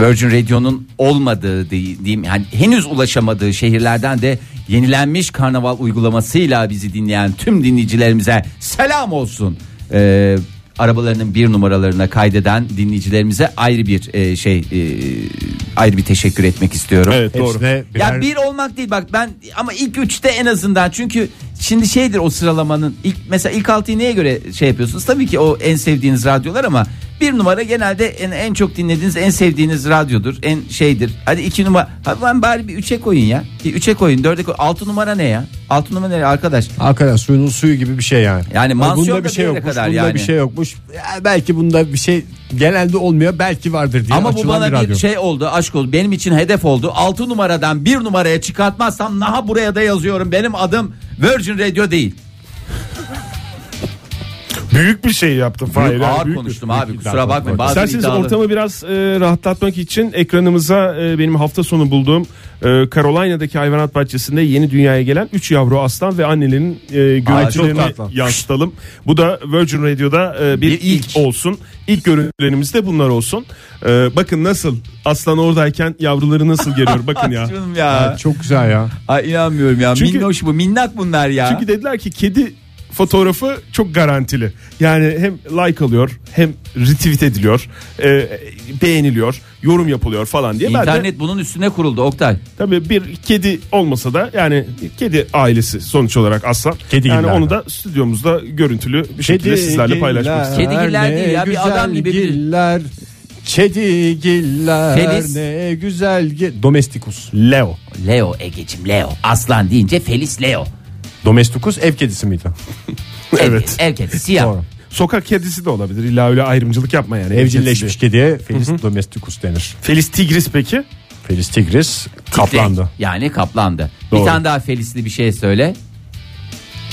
Speaker 4: Virgin Radio'nun olmadığı dey- diyeyim yani henüz ulaşamadığı şehirlerden de yenilenmiş karnaval uygulamasıyla bizi dinleyen tüm dinleyicilerimize selam olsun. Ee, arabalarının bir numaralarına kaydeden dinleyicilerimize ayrı bir e, şey e, ayrı bir teşekkür etmek istiyorum.
Speaker 3: Evet doğru.
Speaker 2: Hepsine birer-
Speaker 4: Ya bir olmak değil bak ben ama ilk üçte en azından çünkü şimdi şeydir o sıralamanın ilk mesela ilk altıyı neye göre şey yapıyorsunuz? Tabii ki o en sevdiğiniz radyolar ama bir numara genelde en, en çok dinlediğiniz en sevdiğiniz radyodur en şeydir. Hadi iki numara ha, ben bari bir üçe koyun ya bir üçe koyun dörde koyun altı numara ne ya altı numara ne arkadaş?
Speaker 2: Hakikaten suyunun suyu gibi bir şey yani.
Speaker 4: Yani
Speaker 2: Ama
Speaker 4: mansiyon
Speaker 2: bunda
Speaker 4: da
Speaker 2: bir şey
Speaker 4: bir yere
Speaker 2: yokmuş,
Speaker 4: kadar
Speaker 2: bunda
Speaker 4: yani.
Speaker 2: bir şey yokmuş. Ya belki bunda bir şey genelde olmuyor, belki vardır diye
Speaker 4: Ama bu
Speaker 2: açılan
Speaker 4: bana bir,
Speaker 2: radyo.
Speaker 4: şey oldu aşk oldu benim için hedef oldu. 6 numaradan bir numaraya çıkartmazsam naha buraya da yazıyorum benim adım Virgin Radio değil.
Speaker 3: Büyük bir şey yaptım Fahir.
Speaker 4: Büyük-
Speaker 3: Yani
Speaker 4: ağır
Speaker 3: büyük-
Speaker 4: konuştum abi kusura bakmayın. Bazen
Speaker 3: İsterseniz
Speaker 4: iddialı.
Speaker 3: ortamı biraz e, rahatlatmak için ekranımıza e, benim hafta sonu bulduğum e, Carolina'daki hayvanat bahçesinde yeni dünyaya gelen 3 yavru aslan ve annelerin e, görüntülerini
Speaker 2: çok tatlı.
Speaker 3: yansıtalım. Bu da Virgin Radio'da e, bir,
Speaker 4: Bir
Speaker 3: ilk.
Speaker 4: ilk.
Speaker 3: olsun. İlk görüntülerimiz de bunlar olsun. E, bakın nasıl aslan oradayken yavruları nasıl geliyor bakın
Speaker 4: (laughs)
Speaker 3: ya.
Speaker 4: Canım ya.
Speaker 2: Çok güzel ya.
Speaker 4: Ay inanmıyorum ya.
Speaker 3: Çünkü-
Speaker 4: Minnoş bu. Minnak bunlar ya.
Speaker 3: Çünkü dediler ki kedi fotoğrafı çok garantili. Yani hem like alıyor hem retweet ediliyor, e, beğeniliyor. yorum yapılıyor falan diye. Ben de,
Speaker 4: İnternet bunun üstüne kuruldu Oktay.
Speaker 3: tabii bir kedi olmasa da yani kedi ailesi sonuç olarak aslan.
Speaker 2: Kedi
Speaker 3: yani
Speaker 2: giller
Speaker 3: onu
Speaker 2: mi?
Speaker 3: da stüdyomuzda görüntülü bir şekilde sizlerle paylaşmak istedim.
Speaker 4: Kedigiller değil ya, bir adam gibi biri.
Speaker 2: Giller, Çedigiller
Speaker 4: Feliz.
Speaker 2: ne güzel gi- Domestikus.
Speaker 3: Leo.
Speaker 4: Leo Egeciğim Leo. Aslan deyince Felis Leo.
Speaker 2: Domestikus ev kedisi miydi?
Speaker 3: Evet.
Speaker 4: Ev kedisi siyah.
Speaker 2: Doğru.
Speaker 3: Sokak kedisi de olabilir. İlla öyle ayrımcılık yapma yani.
Speaker 2: Evcilleşmiş kediye Felis domesticus denir.
Speaker 3: Felis tigris peki?
Speaker 2: Felis tigris kaplandı.
Speaker 4: Titrek. Yani kaplandı.
Speaker 3: Doğru.
Speaker 4: Bir tane daha Felisli bir şey söyle.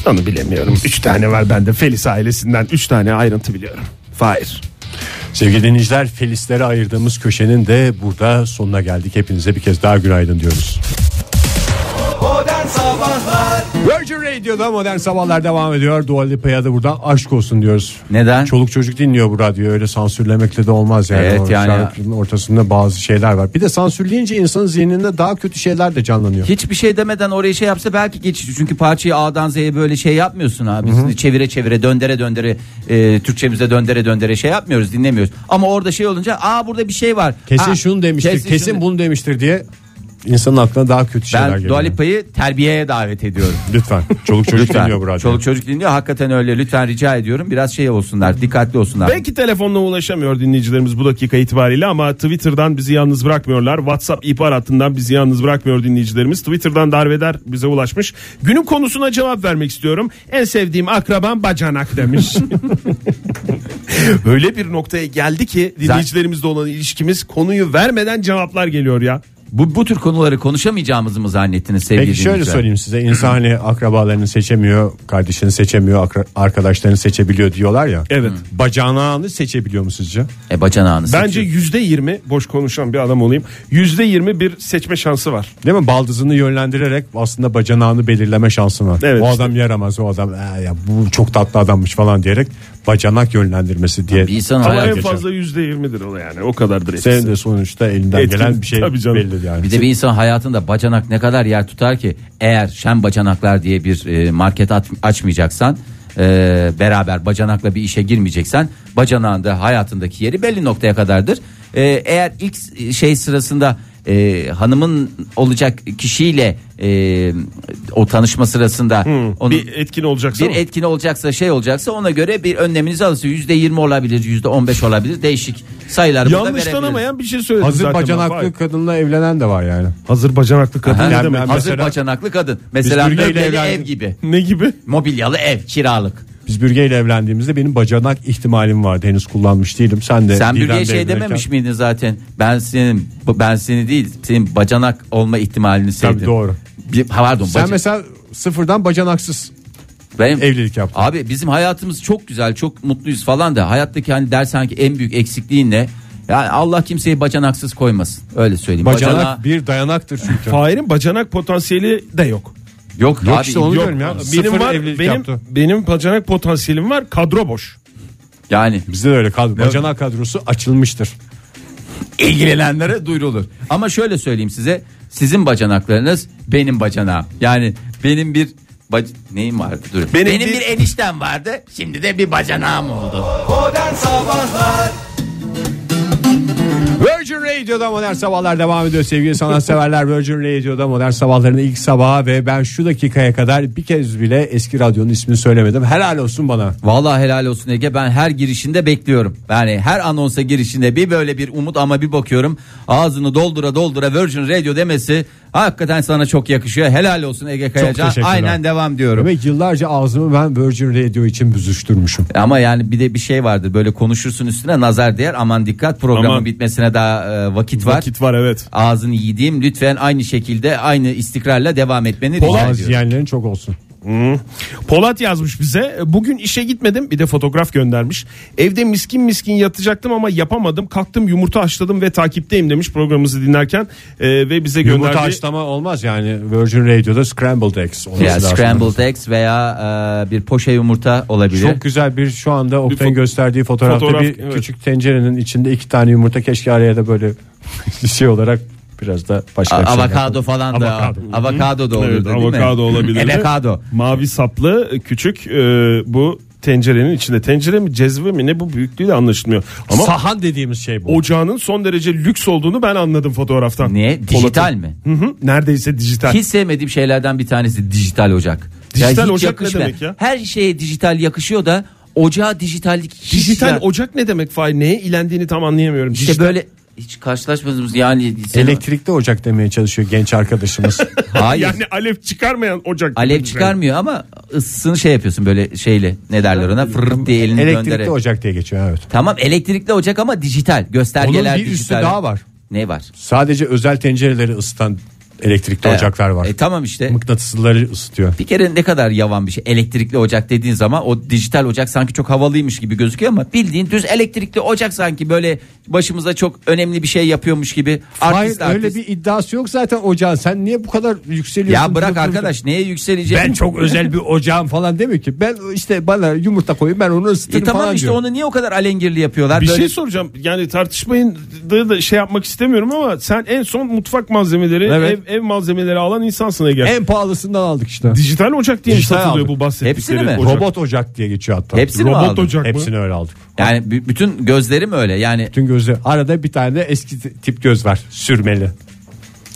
Speaker 3: Onu bilemiyorum. Üç tane var bende. Felis ailesinden üç tane ayrıntı biliyorum. Fahir.
Speaker 2: Sevgili dinleyiciler Felislere ayırdığımız köşenin de burada sonuna geldik. Hepinize bir kez daha günaydın diyoruz.
Speaker 1: Modern Sabahlar
Speaker 2: Virgin Radio'da modern sabahlar devam ediyor. Dua Lipa'ya da buradan aşk olsun diyoruz.
Speaker 4: Neden?
Speaker 2: Çoluk çocuk dinliyor bu radyoyu öyle sansürlemekle de olmaz yani.
Speaker 4: Evet,
Speaker 2: O
Speaker 4: yani-
Speaker 2: şarkının ortasında bazı şeyler var. Bir de sansürleyince insanın zihninde daha kötü şeyler de canlanıyor.
Speaker 4: Hiçbir şey demeden oraya şey yapsa belki geçiş. Çünkü parçayı A'dan Z'ye böyle şey yapmıyorsun abi. Biz Çevire çevire döndere döndere e, Türkçemize döndere döndere şey yapmıyoruz dinlemiyoruz. Ama orada şey olunca aa burada bir şey var.
Speaker 2: Kesin
Speaker 4: Aa,
Speaker 2: şunu demiştir, kesin,
Speaker 4: şunu-
Speaker 2: bunu demiştir diye insanın aklına daha kötü şeyler
Speaker 4: Ben
Speaker 2: geliyor.
Speaker 4: Dua Lipa'yı terbiyeye davet ediyorum.
Speaker 2: Lütfen. Çoluk çocuk
Speaker 4: Lütfen.
Speaker 2: dinliyor bu radyoyu.
Speaker 4: Çoluk çocuk dinliyor. Hakikaten öyle. Lütfen rica ediyorum. Biraz şey olsunlar. Dikkatli olsunlar.
Speaker 3: Belki telefonla ulaşamıyor dinleyicilerimiz bu dakika itibariyle ama Twitter'dan bizi yalnız bırakmıyorlar. WhatsApp ihbar hattından bizi yalnız bırakmıyor dinleyicilerimiz. Twitter'dan darveder bize ulaşmış. Günün konusuna cevap vermek istiyorum. En sevdiğim akraban
Speaker 2: (laughs)
Speaker 3: bacanak demiş. Öyle bir noktaya geldi ki dinleyicilerimizle olan ilişkimiz konuyu vermeden cevaplar geliyor ya.
Speaker 4: Bu, bu tür konuları konuşamayacağımızı mı zannettiniz sevgili
Speaker 2: Peki şöyle
Speaker 4: dinleyiciler?
Speaker 2: söyleyeyim size insani akrabalarını seçemiyor, kardeşini seçemiyor, akra- arkadaşlarını seçebiliyor diyorlar ya.
Speaker 3: Evet.
Speaker 2: Hmm. Bacanağını seçebiliyor mu sizce?
Speaker 4: E bacanağını
Speaker 3: Bence
Speaker 4: seçiyor.
Speaker 3: yüzde yirmi boş konuşan bir adam olayım. Yüzde yirmi bir seçme şansı var.
Speaker 2: Değil mi? Baldızını yönlendirerek aslında bacanağını belirleme şansın var.
Speaker 3: Evet,
Speaker 2: o
Speaker 3: işte.
Speaker 2: adam yaramaz, o adam "Ee, ya bu çok tatlı adammış falan diyerek bacanak yönlendirmesi diye.
Speaker 4: bir insan
Speaker 3: Ama
Speaker 4: Hayal
Speaker 3: en
Speaker 2: geçer.
Speaker 3: fazla yüzde yirmidir o yani. O kadardır.
Speaker 2: Senin
Speaker 3: etkisi.
Speaker 2: de sonuçta elinden
Speaker 3: Etkin,
Speaker 2: gelen bir şey
Speaker 3: tabii canım.
Speaker 2: belli yani.
Speaker 4: Bir de bir insan hayatında bacanak ne kadar yer tutar ki eğer şen bacanaklar diye bir e, market at- açmayacaksan e, beraber bacanakla bir işe girmeyeceksen bacanağın da hayatındaki yeri belli noktaya kadardır. E, eğer ilk s- şey sırasında e, hanımın olacak kişiyle e, o tanışma sırasında
Speaker 2: Hmm.
Speaker 4: onun-
Speaker 2: e,
Speaker 3: bir etkin olacaksa
Speaker 4: bir
Speaker 3: mı?
Speaker 4: etkin olacaksa şey olacaksa ona göre bir önleminizi alırsınız. Yüzde yirmi olabilir, yüzde on beş olabilir. Değişik sayılar burada verebiliriz.
Speaker 3: Yanlışlanamayan bir şey söyledim
Speaker 2: Hazır
Speaker 3: zaten.
Speaker 2: bacanaklı
Speaker 3: Vay.
Speaker 2: kadınla evlenen de var yani.
Speaker 3: Hazır bacanaklı kadın
Speaker 4: Ha,
Speaker 3: ne
Speaker 2: Yani
Speaker 3: demek?
Speaker 2: ben-
Speaker 4: hazır
Speaker 2: Mesela-
Speaker 4: bacanaklı kadın. Mesela
Speaker 2: Biz
Speaker 4: möbleli
Speaker 2: Türkiye'yle evlendik.
Speaker 4: ev gibi.
Speaker 3: Ne gibi?
Speaker 4: Mobilyalı ev kiralık.
Speaker 2: Biz Bürge ile evlendiğimizde benim bacanak ihtimalim vardı. Henüz kullanmış değilim. Sen de
Speaker 4: Sen
Speaker 2: Didem'le
Speaker 4: bürgeye şey
Speaker 2: evlenirken-
Speaker 4: dememiş miydin zaten? Ben senin ben seni değil, senin bacanak olma ihtimalini sevdim.
Speaker 2: doğru.
Speaker 4: Bir, ha, pardon.
Speaker 2: Sen
Speaker 4: baca-
Speaker 2: mesela sıfırdan bacanaksız
Speaker 4: benim,
Speaker 2: evlilik yaptın.
Speaker 4: Abi bizim hayatımız çok güzel, çok mutluyuz falan da hayattaki hani dersen ki en büyük eksikliğin ne? Yani Allah kimseyi bacanaksız koymasın. Öyle söyleyeyim.
Speaker 2: Bacanak
Speaker 4: Bacana-
Speaker 2: bir dayanaktır çünkü.
Speaker 3: Fahir'in bacanak potansiyeli de yok.
Speaker 4: Yok,
Speaker 2: Yok
Speaker 4: abi,
Speaker 2: işte onu
Speaker 4: yok.
Speaker 2: diyorum ya.
Speaker 3: Benim
Speaker 2: Sıfır
Speaker 3: var,
Speaker 2: evlilik
Speaker 3: benim,
Speaker 2: yaptı.
Speaker 3: benim bacanak potansiyelim var. Kadro boş.
Speaker 4: Yani
Speaker 2: Bizde de öyle kadro. Bacanak kadrosu açılmıştır.
Speaker 4: ilgilenenlere duyurulur. Ama şöyle söyleyeyim size. Sizin bacanaklarınız benim bacanağım. Yani benim bir bac- neyim vardı? Dur. Benim,
Speaker 3: bir-
Speaker 4: bir... eniştem vardı. Şimdi de bir bacanağım oldu.
Speaker 1: Modern Sabahlar
Speaker 2: Virgin Radio'da modern sabahlar devam ediyor sevgili sanatseverler. Virgin Radio'da modern sabahların ilk sabahı ve ben şu dakikaya kadar bir kez bile eski radyonun ismini söylemedim. Helal olsun bana.
Speaker 4: Vallahi helal olsun Ege. Ben her girişinde bekliyorum. Yani her anonsa girişinde bir böyle bir umut ama bir bakıyorum. Ağzını doldura doldura Virgin Radio demesi hakikaten sana çok yakışıyor. Helal olsun Ege Kayacan.
Speaker 2: teşekkürler.
Speaker 4: Aynen devam diyorum.
Speaker 2: Demek yıllarca ağzımı ben Virgin Radio için büzüştürmüşüm.
Speaker 4: Ama yani bir de bir şey vardır böyle konuşursun üstüne nazar değer aman dikkat programın
Speaker 3: Aman.
Speaker 4: bitmesine daha e, vakit var.
Speaker 3: Vakit var evet.
Speaker 4: Ağzını yediğim lütfen aynı şekilde aynı istikrarla devam etmeni rica
Speaker 2: Ağız
Speaker 4: ediyorum.
Speaker 2: yiyenlerin çok olsun.
Speaker 3: Polat yazmış bize. Bugün işe gitmedim. Bir de fotoğraf göndermiş. Evde miskin miskin yatacaktım ama yapamadım. Kalktım yumurta haşladım ve takipteyim demiş programımızı dinlerken. Ee, ve bize gönderdi.
Speaker 2: Yumurta haşlama olmaz yani Virgin Radio'da Scrambled Eggs. olması
Speaker 4: Ya,
Speaker 2: lazım.
Speaker 4: scrambled eggs veya e, bir poşe yumurta olabilir.
Speaker 2: Çok güzel bir şu anda Oktay'ın
Speaker 3: fo-
Speaker 2: gösterdiği fotoğrafta
Speaker 3: fotoğraf,
Speaker 2: bir
Speaker 3: evet.
Speaker 2: küçük tencerenin içinde iki tane yumurta keşke araya da böyle (laughs) şey olarak biraz da başka
Speaker 4: A-
Speaker 2: bir şey
Speaker 4: avokado falan da
Speaker 2: Avokado.
Speaker 4: avokado, da olurdu
Speaker 3: Evet,
Speaker 4: değil mi?
Speaker 3: avokado olabilirdi.
Speaker 4: Avokado.
Speaker 3: Mavi saplı küçük e, bu tencerenin içinde. Tencere mi cezve mi ne bu büyüklüğü de anlaşılmıyor. Ama
Speaker 2: Sahan dediğimiz şey bu.
Speaker 3: ocağının son derece lüks olduğunu ben anladım fotoğraftan.
Speaker 4: Niye?
Speaker 3: Polat'ın.
Speaker 4: Dijital mi?
Speaker 3: Hı hı, neredeyse dijital.
Speaker 4: Hiç sevmediğim şeylerden bir tanesi dijital ocak.
Speaker 3: Dijital
Speaker 4: hiç
Speaker 3: ocak ne
Speaker 4: yakışmayan-
Speaker 3: demek ya?
Speaker 4: Her şeye dijital yakışıyor da ocağa dijitallik hiç
Speaker 3: dijital
Speaker 4: ya-
Speaker 3: ocak ne demek Fahir? Neye ilendiğini tam anlayamıyorum.
Speaker 4: İşte
Speaker 3: dijital...
Speaker 4: böyle hiç karşılaşmadığımız yani senin-
Speaker 2: Elektrikli ocak demeye çalışıyor genç
Speaker 4: (laughs)
Speaker 2: arkadaşımız.
Speaker 4: Hayır.
Speaker 3: Yani alev çıkarmayan ocak.
Speaker 4: Alev
Speaker 3: demek.
Speaker 4: çıkarmıyor ama ısısını şey yapıyorsun böyle şeyle ne derler ona fırırt diye elini
Speaker 2: Elektrikli
Speaker 4: döndürerek.
Speaker 2: ocak diye geçiyor evet.
Speaker 4: Tamam elektrikli ocak ama dijital
Speaker 2: Onun
Speaker 4: göstergeler
Speaker 2: bir üstü
Speaker 4: dijital.
Speaker 2: daha var.
Speaker 4: Ne var?
Speaker 2: Sadece özel tencereleri ısıtan elektrikli ocaklar var.
Speaker 4: E, tamam işte.
Speaker 2: Mıknatısları ısıtıyor.
Speaker 4: Bir kere ne kadar yavan bir şey elektrikli ocak dediğin zaman o dijital ocak sanki çok havalıymış gibi gözüküyor ama bildiğin düz elektrikli ocak sanki böyle başımıza çok önemli bir şey yapıyormuş gibi.
Speaker 2: Hayır
Speaker 4: Artist,
Speaker 2: öyle
Speaker 4: artist.
Speaker 2: bir iddiası yok zaten ocağın. Sen niye bu kadar yükseliyorsun?
Speaker 4: Ya bırak
Speaker 2: Dur, dur, dur.
Speaker 4: arkadaş neye yükseleceğim?
Speaker 2: Ben çok özel bir ocağım falan demiyor ki. Ben işte bana yumurta koyun ben onu ısıtırım
Speaker 4: E, tamam
Speaker 2: falan
Speaker 4: işte
Speaker 2: diyor.
Speaker 4: onu niye o kadar alengirli yapıyorlar?
Speaker 3: Bir
Speaker 4: Böyle-
Speaker 3: şey soracağım. Yani tartışmayın da, da şey yapmak istemiyorum ama sen en son mutfak malzemeleri,
Speaker 2: Evet.
Speaker 3: ev, ev malzemeleri alan insansın Ege.
Speaker 2: En pahalısından aldık işte.
Speaker 3: Dijital ocak diye mi
Speaker 2: Dijital
Speaker 3: satılıyor
Speaker 2: aldım.
Speaker 3: bu bahsettikleri
Speaker 4: Hepsini mi?
Speaker 3: ocak.
Speaker 2: Robot ocak diye geçiyor hatta.
Speaker 4: Hepsini mi
Speaker 3: Robot
Speaker 4: aldın?
Speaker 3: ocak mı?
Speaker 2: Hepsini öyle aldık.
Speaker 4: Yani b- bütün gözlerim öyle yani
Speaker 2: Bütün gözleri. Arada bir tane de eski t- tip göz var. Sürmeli.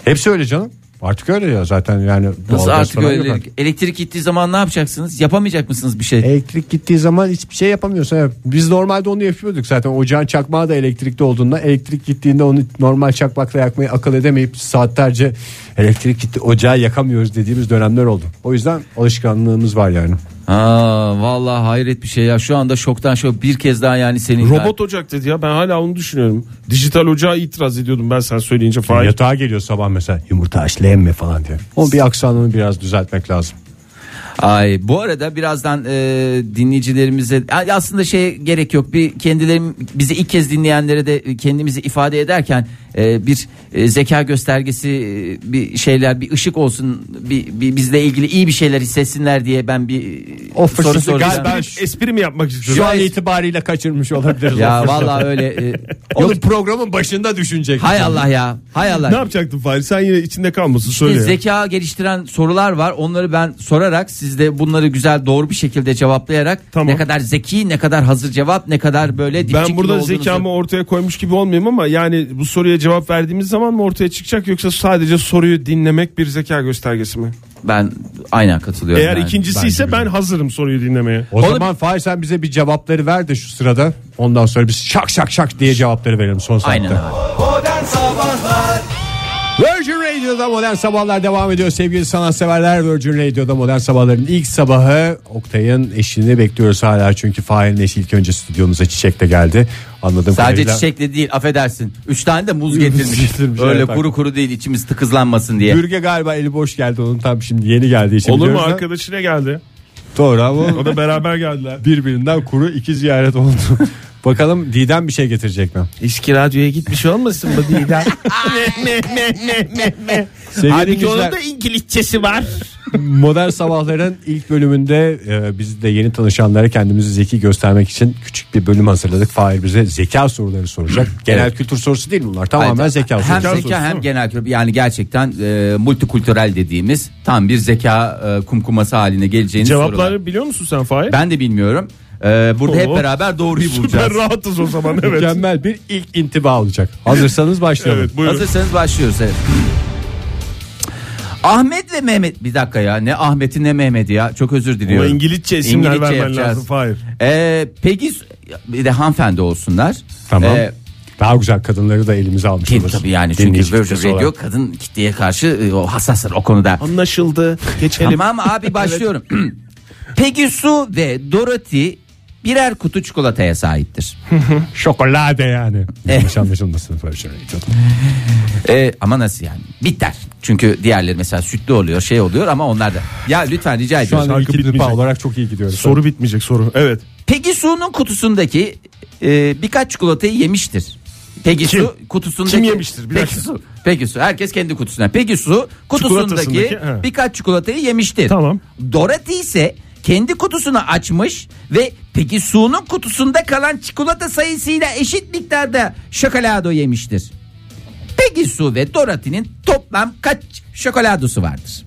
Speaker 2: Hepsi öyle canım. Artık öyle ya zaten yani. doğalgaz
Speaker 4: nasıl artık
Speaker 2: falan yok E-
Speaker 4: öyle elektrik gittiği zaman ne yapacaksınız? Yapamayacak mısınız bir şey?
Speaker 2: Elektrik gittiği zaman hiçbir şey yapamıyorsun. Evet. Biz normalde onu yapıyorduk zaten. Ocağın çakmağı da elektrikli olduğunda elektrik gittiğinde onu normal çakmakla yakmayı akıl edemeyip saatlerce elektrik gitti ocağı yakamıyoruz dediğimiz dönemler oldu. O yüzden alışkanlığımız var yani.
Speaker 4: Aa, vallahi hayret bir şey ya. Şu anda şoktan şok bir kez daha yani senin
Speaker 3: Robot ocak dedi ya ben hala onu düşünüyorum. Dijital ocağa itiraz ediyordum ben sen söyleyince Fahir.
Speaker 2: Yatağa geliyor sabah mesela yumurta haşlayayım mı falan diye. Onun bir aksanını biraz düzeltmek lazım.
Speaker 4: Ay bu arada birazdan e, dinleyicilerimize Ay, aslında şeye gerek yok. Bir kendilerim bizi ilk kez dinleyenlere de e, kendimizi ifade ederken e, bir e, zeka göstergesi e, bir şeyler bir ışık olsun bir, bir bizle ilgili iyi bir şeyler hissetsinler diye ben bir
Speaker 2: O
Speaker 4: e,
Speaker 2: fırsatı
Speaker 4: soru soracağım.
Speaker 2: galiba- Ben şu-
Speaker 3: Espri mi yapmak
Speaker 2: Şu
Speaker 3: istiyorsun?
Speaker 2: an itibariyle kaçırmış olabiliriz.
Speaker 4: Ya vallahi öyle. e,
Speaker 2: Onu programın başında düşünecek.
Speaker 4: hay Allah ya. Hay Allah.
Speaker 3: Ne yapacaktın Fahir sen yine içinde kalmasın söyle.
Speaker 4: Biz
Speaker 3: ya.
Speaker 4: zeka geliştiren sorular var. Onları ben sorarak siz de bunları güzel doğru bir şekilde cevaplayarak
Speaker 3: Tamam.
Speaker 4: ne kadar zeki, ne kadar hazır cevap, ne kadar böyle dipçik
Speaker 3: Ben
Speaker 4: gibi
Speaker 3: burada
Speaker 4: olduğunuzu-
Speaker 3: zekamı ortaya koymuş gibi olmayayım ama yani bu soruya cevap verdiğimiz zaman mı ortaya çıkacak yoksa sadece soruyu dinlemek bir zeka göstergesi mi?
Speaker 4: ben aynen katılıyorum.
Speaker 3: Eğer
Speaker 4: yani.
Speaker 3: ikincisi ise ben hazırım soruyu dinlemeye.
Speaker 2: O zaman Fahir sen bize bir cevapları ver de şu sırada. Ondan sonra biz şak şak şak diye cevapları verelim son saatte.
Speaker 4: aynen abi.
Speaker 1: Modern Sabahlar
Speaker 2: Virgin Radio'da modern sabahlar devam ediyor sevgili sanatseverler. Virgin Radio'da modern sabahların ilk sabahı Oktay'ın eşini bekliyoruz hala. Çünkü Fahir'in eşi ilk önce stüdyomuza çiçek de geldi. Anladım.
Speaker 4: Sadece çiçekle değil affedersin. Üç tane de muz getirmiş.
Speaker 2: getirmiş,
Speaker 4: Öyle
Speaker 2: evet,
Speaker 4: kuru kuru değil içimiz tıkızlanmasın diye.
Speaker 2: Bürge galiba eli boş geldi onun tam şimdi yeni geldiği için.
Speaker 3: Olur mu
Speaker 2: biliyoruz da.
Speaker 3: arkadaşına geldi.
Speaker 2: Doğru ama
Speaker 3: O da beraber
Speaker 2: (laughs)
Speaker 3: geldiler.
Speaker 2: birbirinden kuru iki ziyaret oldu. (laughs) Bakalım Didem bir şey getirecek mi?
Speaker 3: İşki radyoya gitmiş olmasın mı Didem?
Speaker 2: Sevgili dinleyiciler-
Speaker 3: İngilizcesi var.
Speaker 2: Modern Sabahların ilk bölümünde e, biz de yeni tanışanlara kendimizi zeki göstermek için küçük bir bölüm hazırladık. Fahir bize zeka soruları soracak. Genel kültür sorusu değil bunlar. Tamamen
Speaker 4: Hayır,
Speaker 2: zeka sorusu.
Speaker 4: hem
Speaker 2: Zeka
Speaker 4: zeka
Speaker 2: sorusu değil
Speaker 4: hem
Speaker 2: mi?
Speaker 4: genel kültür yani gerçekten e, multikültürel dediğimiz tam bir zeka e, kumkuması haline geleceğini sorular.
Speaker 3: Cevapları biliyor musun sen Fahir?
Speaker 4: Ben de bilmiyorum. E, burada hep
Speaker 3: Oo.
Speaker 4: beraber doğruyu bulacağız.
Speaker 3: Süper rahatız o zaman evet.
Speaker 2: Mükemmel bir ilk intiba olacak. Hazırsanız başlayalım.
Speaker 3: evet buyurun.
Speaker 4: Hazırsanız başlıyoruz evet. Ahmet ve Mehmet bir dakika ya ne Ahmet'i ne Mehmet'i ya çok özür
Speaker 3: Ama
Speaker 4: diliyorum.
Speaker 3: İngilizce isimler
Speaker 4: İngilizce
Speaker 3: vermen
Speaker 4: yapacağız.
Speaker 3: lazım Fahir.
Speaker 4: Ee, peki bir de hanımefendi olsunlar.
Speaker 2: Tamam.
Speaker 4: Ee,
Speaker 2: Daha güzel kadınları da elimize almış
Speaker 4: ki
Speaker 2: oluruz.
Speaker 4: tabii yani
Speaker 2: Dinleyici
Speaker 4: çünkü Virgin
Speaker 2: kitlesi
Speaker 4: Radio
Speaker 2: olarak.
Speaker 4: kadın kitleye karşı e, o hassastır o konuda.
Speaker 3: Anlaşıldı. Geçelim.
Speaker 4: Tamam
Speaker 3: (laughs)
Speaker 4: abi başlıyorum. (clears throat) Peggy Sue ve Dorothy birer kutu çikolataya sahiptir.
Speaker 2: Şokolade
Speaker 4: (laughs)
Speaker 2: yani.
Speaker 4: Eh.
Speaker 2: Yanlış anlaşılmasın Virgin Radio'da.
Speaker 4: Ee, ama nasıl yani? Bitter. Çünkü diğerleri mesela sütlü oluyor, şey oluyor ama onlar da. Ya lütfen rica
Speaker 2: Şu
Speaker 4: ediyorum.
Speaker 2: an
Speaker 3: Şarkı
Speaker 2: ilk intiba
Speaker 3: bitmeyecek.
Speaker 2: olarak çok iyi gidiyoruz.
Speaker 3: Soru bitmeyecek soru. Evet.
Speaker 4: Peggy Sue'nun kutusundaki e, birkaç çikolatayı yemiştir. Peggy
Speaker 3: Kim?
Speaker 4: Sue kutusundaki
Speaker 3: Kim yemiştir? Bir
Speaker 4: Peggy
Speaker 3: dakika.
Speaker 4: Sue. Peggy Sue. Herkes kendi kutusuna. Peggy Sue kutusundaki
Speaker 3: Çikolatasındaki, he.
Speaker 4: birkaç çikolatayı yemiştir.
Speaker 3: Tamam.
Speaker 4: Dorothy ise kendi kutusunu açmış ve Peggy Sue'nun kutusunda kalan çikolata sayısıyla eşit miktarda şokolado yemiştir. Peggy Sue ve Dorothy'nin toplam kaç şokoladosu vardır?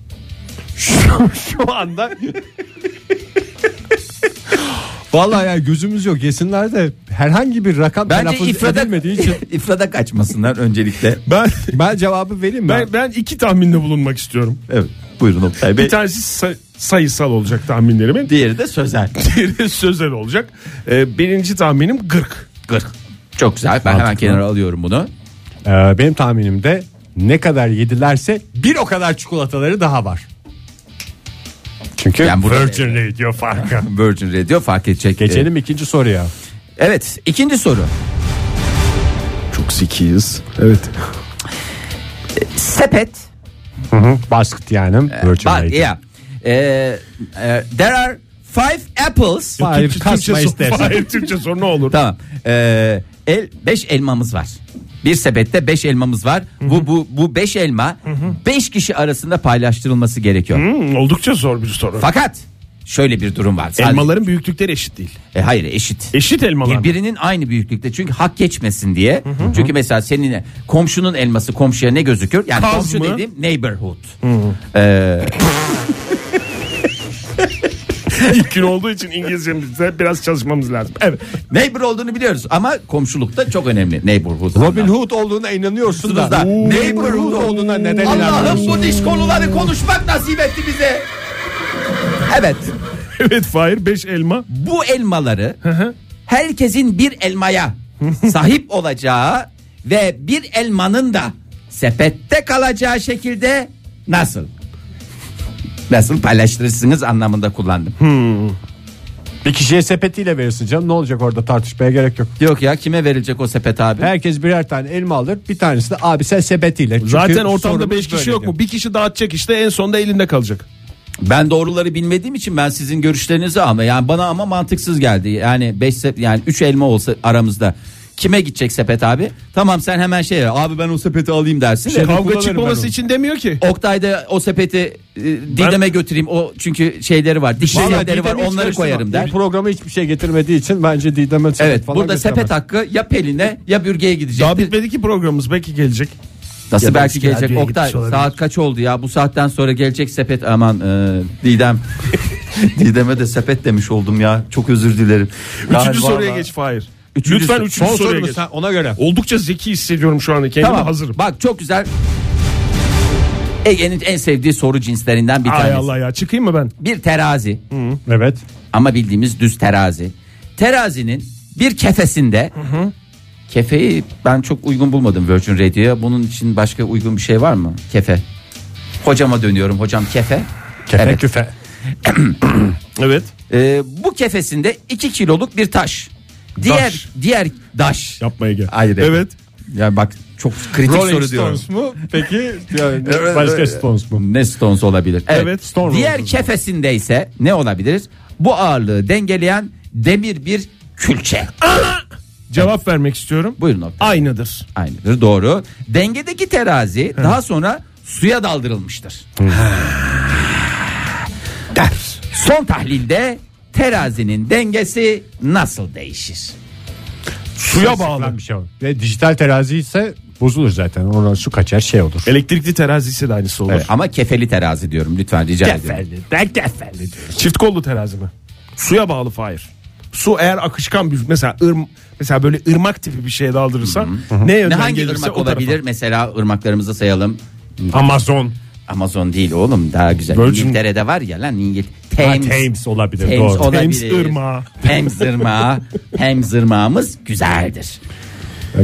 Speaker 3: Şu anda
Speaker 2: Vallahi ya gözümüz yok yesinler de herhangi bir rakam
Speaker 4: Bence
Speaker 2: telaffuz
Speaker 4: ifrada,
Speaker 2: edilmediği için
Speaker 4: (laughs) ifrada kaçmasınlar öncelikle.
Speaker 3: Ben
Speaker 2: ben cevabı vereyim mi?
Speaker 3: ben ben iki tahminde bulunmak istiyorum.
Speaker 4: Evet. Buyurun Oktay Bey.
Speaker 3: Bir tanesi say- sayısal olacak tahminlerimin.
Speaker 4: Diğeri de sözel.
Speaker 3: Diğeri (laughs) de sözel olacak. Ee, birinci tahminim 40.
Speaker 4: 40. Çok güzel. Ben hemen kenara alıyorum bunu.
Speaker 2: Ee, benim tahminimde ne kadar yedilerse bir o kadar çikolataları daha var. Çünkü
Speaker 4: Yani burada-
Speaker 2: Virgin Radio farkı.
Speaker 4: Virgin Radio fark edecek. Ee,
Speaker 2: Geçelim ikinci soruya.
Speaker 4: Evet. ikinci soru.
Speaker 3: Çok zekiyiz. Evet.
Speaker 4: Sepet
Speaker 2: Basket yani Virgin
Speaker 4: But
Speaker 2: Radio.
Speaker 4: yeah. Eh, eh, there are five apples.
Speaker 2: Hayır,
Speaker 3: Türkçe,
Speaker 2: kasma
Speaker 3: Türkçe, sor,
Speaker 2: istersen.
Speaker 3: hayır Türkçe sor ne olur.
Speaker 4: Tamam. Eh, el, beş elmamız var. Bir sepette beş elmamız var. Bu bu bu beş elma beş kişi arasında paylaştırılması gerekiyor.
Speaker 3: Hmm, oldukça zor bir soru.
Speaker 4: Fakat şöyle bir durum var. Sadece-
Speaker 3: Elmaların büyüklükleri eşit değil.
Speaker 4: E, hayır eşit.
Speaker 3: Eşit elmalar. mı?
Speaker 4: Birbirinin aynı büyüklükte çünkü hak geçmesin diye. Çünkü mesela senin komşunun elması komşuya ne gözükür? Yani
Speaker 3: Kaz
Speaker 4: komşu
Speaker 3: mı?
Speaker 4: dediğim neighborhood.
Speaker 3: (laughs) İlk gün olduğu için İngilizcemizde biraz çalışmamız lazım. Evet.
Speaker 4: Neighbor olduğunu biliyoruz ama komşulukta çok önemli neighborhood.
Speaker 2: Robin Hood olduğuna inanıyorsun da.
Speaker 4: da.
Speaker 2: Neighborhood olduğuna neden inanmıyorsun?
Speaker 4: Allah'ım bu diş konuları konuşmak nasip etti bize. Evet
Speaker 3: (laughs) Evet Fahir 5 elma.
Speaker 4: bu elmaları herkesin bir elmaya sahip olacağı ve bir elmanın da sepette kalacağı şekilde nasıl? Nasıl paylaştırırsınız anlamında kullandım.
Speaker 2: Bir kişiye sepetiyle verirsin canım. Ne olacak orada tartışmaya gerek yok.
Speaker 4: Yok ya kime verilecek o sepet abi?
Speaker 2: Herkes birer tane elma alır. Bir tanesi de abi sen sepetiyle. Çünkü
Speaker 3: Zaten ortamda
Speaker 2: sorumuz
Speaker 3: 5 kişi
Speaker 2: böyle
Speaker 3: yok
Speaker 2: diyor.
Speaker 3: mu? Bir kişi dağıtacak işte en sonda elinde kalacak.
Speaker 4: Ben doğruları bilmediğim için ben sizin görüşlerinizi ama yani bana ama mantıksız geldi. Yani 5 yani 3 elma olsa aramızda kime gidecek sepet abi? Tamam sen hemen şey yap, abi ben o sepeti alayım dersin. de,
Speaker 3: Kavga
Speaker 2: kullanırım Şey, ben
Speaker 3: çıkmaması
Speaker 2: onu.
Speaker 3: için demiyor ki.
Speaker 4: Oktay da o sepeti e, Didem'e götüreyim. O çünkü şeyleri var. Diş
Speaker 2: Vallahi
Speaker 4: şeyleri var.
Speaker 2: Didem'i şey hiç
Speaker 4: Onları
Speaker 2: karıştırma.
Speaker 4: koyarım
Speaker 2: Bu
Speaker 4: der.
Speaker 2: programa hiçbir şey getirmediği için bence Didem'e sepet
Speaker 4: Evet
Speaker 2: falan
Speaker 4: burada
Speaker 2: götüremez.
Speaker 4: sepet hakkı ya Pelin'e ya Bürge'ye gidecek.
Speaker 3: Daha bitmedi ki programımız belki gelecek.
Speaker 4: Nasıl
Speaker 2: Ya da
Speaker 4: belki
Speaker 2: eski
Speaker 4: gelecek
Speaker 2: radyoya
Speaker 4: Oktay
Speaker 2: gitmiş olabilir.
Speaker 4: saat kaç oldu ya bu saatten sonra gelecek sepet aman e,
Speaker 2: (laughs)
Speaker 4: Didem. Didem'e de sepet demiş oldum ya çok özür dilerim. Yani
Speaker 3: Üçüncü soruya
Speaker 4: vallahi-
Speaker 3: geç Fahir.
Speaker 4: Üçüncü
Speaker 3: Lütfen
Speaker 4: sor-
Speaker 3: üçüncü
Speaker 2: Son
Speaker 3: soruya
Speaker 2: soru mu
Speaker 3: geç.
Speaker 2: sen ona göre.
Speaker 3: Oldukça zeki hissediyorum şu anda kendimi
Speaker 4: Tamam.
Speaker 3: hazırım.
Speaker 4: Bak çok güzel. Ege'nin en sevdiği soru cinslerinden bir
Speaker 3: Ay
Speaker 4: tanesi.
Speaker 3: Allah ya çıkayım mı ben?
Speaker 4: Bir terazi
Speaker 2: Evet.
Speaker 4: ama bildiğimiz düz terazi. Terazinin bir kefesinde kefeyi ben çok uygun bulmadım Virgin Radio'ya. Bunun için başka uygun bir şey var mı? Kefe. Hocama dönüyorum hocam kefe.
Speaker 2: Kefe
Speaker 4: Evet.
Speaker 2: küfe.
Speaker 3: (clears throat) Evet.
Speaker 4: Ee, bu kefesinde 2 kiloluk bir taş. Diğer
Speaker 3: Daş.
Speaker 4: diğer daş.
Speaker 3: Yapmaya gel.
Speaker 4: Hayır, evet.
Speaker 3: Evet.
Speaker 4: Ya bak çok kritik
Speaker 2: Rolling
Speaker 4: soru diyorum.
Speaker 2: Stones mu? Peki yani başka Stones mu?
Speaker 4: Ne Stones olabilir? Evet.
Speaker 3: Evet, Stone
Speaker 4: Diğer
Speaker 3: Roses
Speaker 4: kefesinde ise ne olabilir? Bu ağırlığı dengeleyen demir bir külçe.
Speaker 3: Cevap vermek istiyorum.
Speaker 4: Buyurun Oktay.
Speaker 3: Aynıdır.
Speaker 4: Aynıdır doğru. Dengedeki terazi daha sonra suya daldırılmıştır.
Speaker 3: Der.
Speaker 4: Son tahlilde terazinin dengesi nasıl değişir?
Speaker 3: Suya bağlı.
Speaker 2: Falan bir şey olur. Ve dijital terazi ise bozulur zaten. Ona su kaçar şey olur.
Speaker 3: Elektrikli terazisi de aynısı olur.
Speaker 4: Evet, Ama kefeli terazi diyorum lütfen rica ediyorum.
Speaker 2: Kefelli. Ben kefelli diyorum.
Speaker 3: Çift kollu terazi mi? Suya bağlı Fahir. Su eğer akışkan bir mesela ırm, mesela böyle ırmak tipi bir şeye daldırırsan ne
Speaker 4: Ne
Speaker 3: yönden
Speaker 4: hangi
Speaker 3: gelirse
Speaker 4: ırmak
Speaker 3: o tarafa.
Speaker 4: olabilir? Mesela ırmaklarımızı sayalım.
Speaker 2: Amazon.
Speaker 4: Amazon değil oğlum daha güzel.
Speaker 3: Virgin-
Speaker 4: İngiltere'de var ya lan İngiltere.
Speaker 2: Ha, Thames olabilir.
Speaker 4: Thames
Speaker 2: doğru.
Speaker 4: olabilir.
Speaker 3: Thames ırmağı.
Speaker 2: (laughs)
Speaker 4: Thames ırmağı. Thames ırmağımız güzeldir.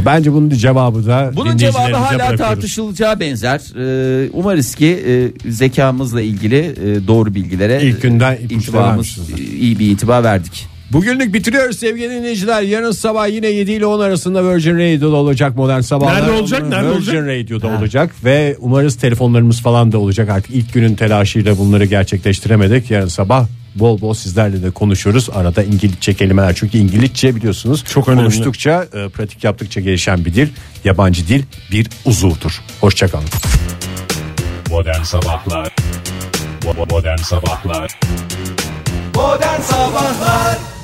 Speaker 2: Bence bunun cevabı da
Speaker 4: Bunun cevabı hala tartışılacağı benzer. Ee, umarız ki e, zekamızla ilgili e, doğru bilgilere
Speaker 2: İlk günden
Speaker 4: e,
Speaker 2: ipuçları
Speaker 4: intibamız
Speaker 2: vermişsinizdir.
Speaker 4: e, iyi bir itibar verdik.
Speaker 2: Bugünlük bitiriyoruz sevgili dinleyiciler. Yarın sabah yine 7 ile 10 arasında Virgin Radio'da olacak modern sabahlar.
Speaker 3: Nerede olacak, nerede
Speaker 2: Virgin
Speaker 3: olacak?
Speaker 2: Radio'da olacak ve umarız telefonlarımız falan da olacak artık. ilk günün telaşıyla bunları gerçekleştiremedik. Yarın sabah bol bol sizlerle de konuşuruz. Arada İngilizce kelimeler çünkü İngilizce biliyorsunuz.
Speaker 3: Çok önemli.
Speaker 2: Konuştukça, e, pratik yaptıkça gelişen bir dil. Yabancı dil bir uzuvdur. Hoşçakalın.
Speaker 6: Modern Sabahlar Bo- Modern Sabahlar
Speaker 1: Modern Sabahlar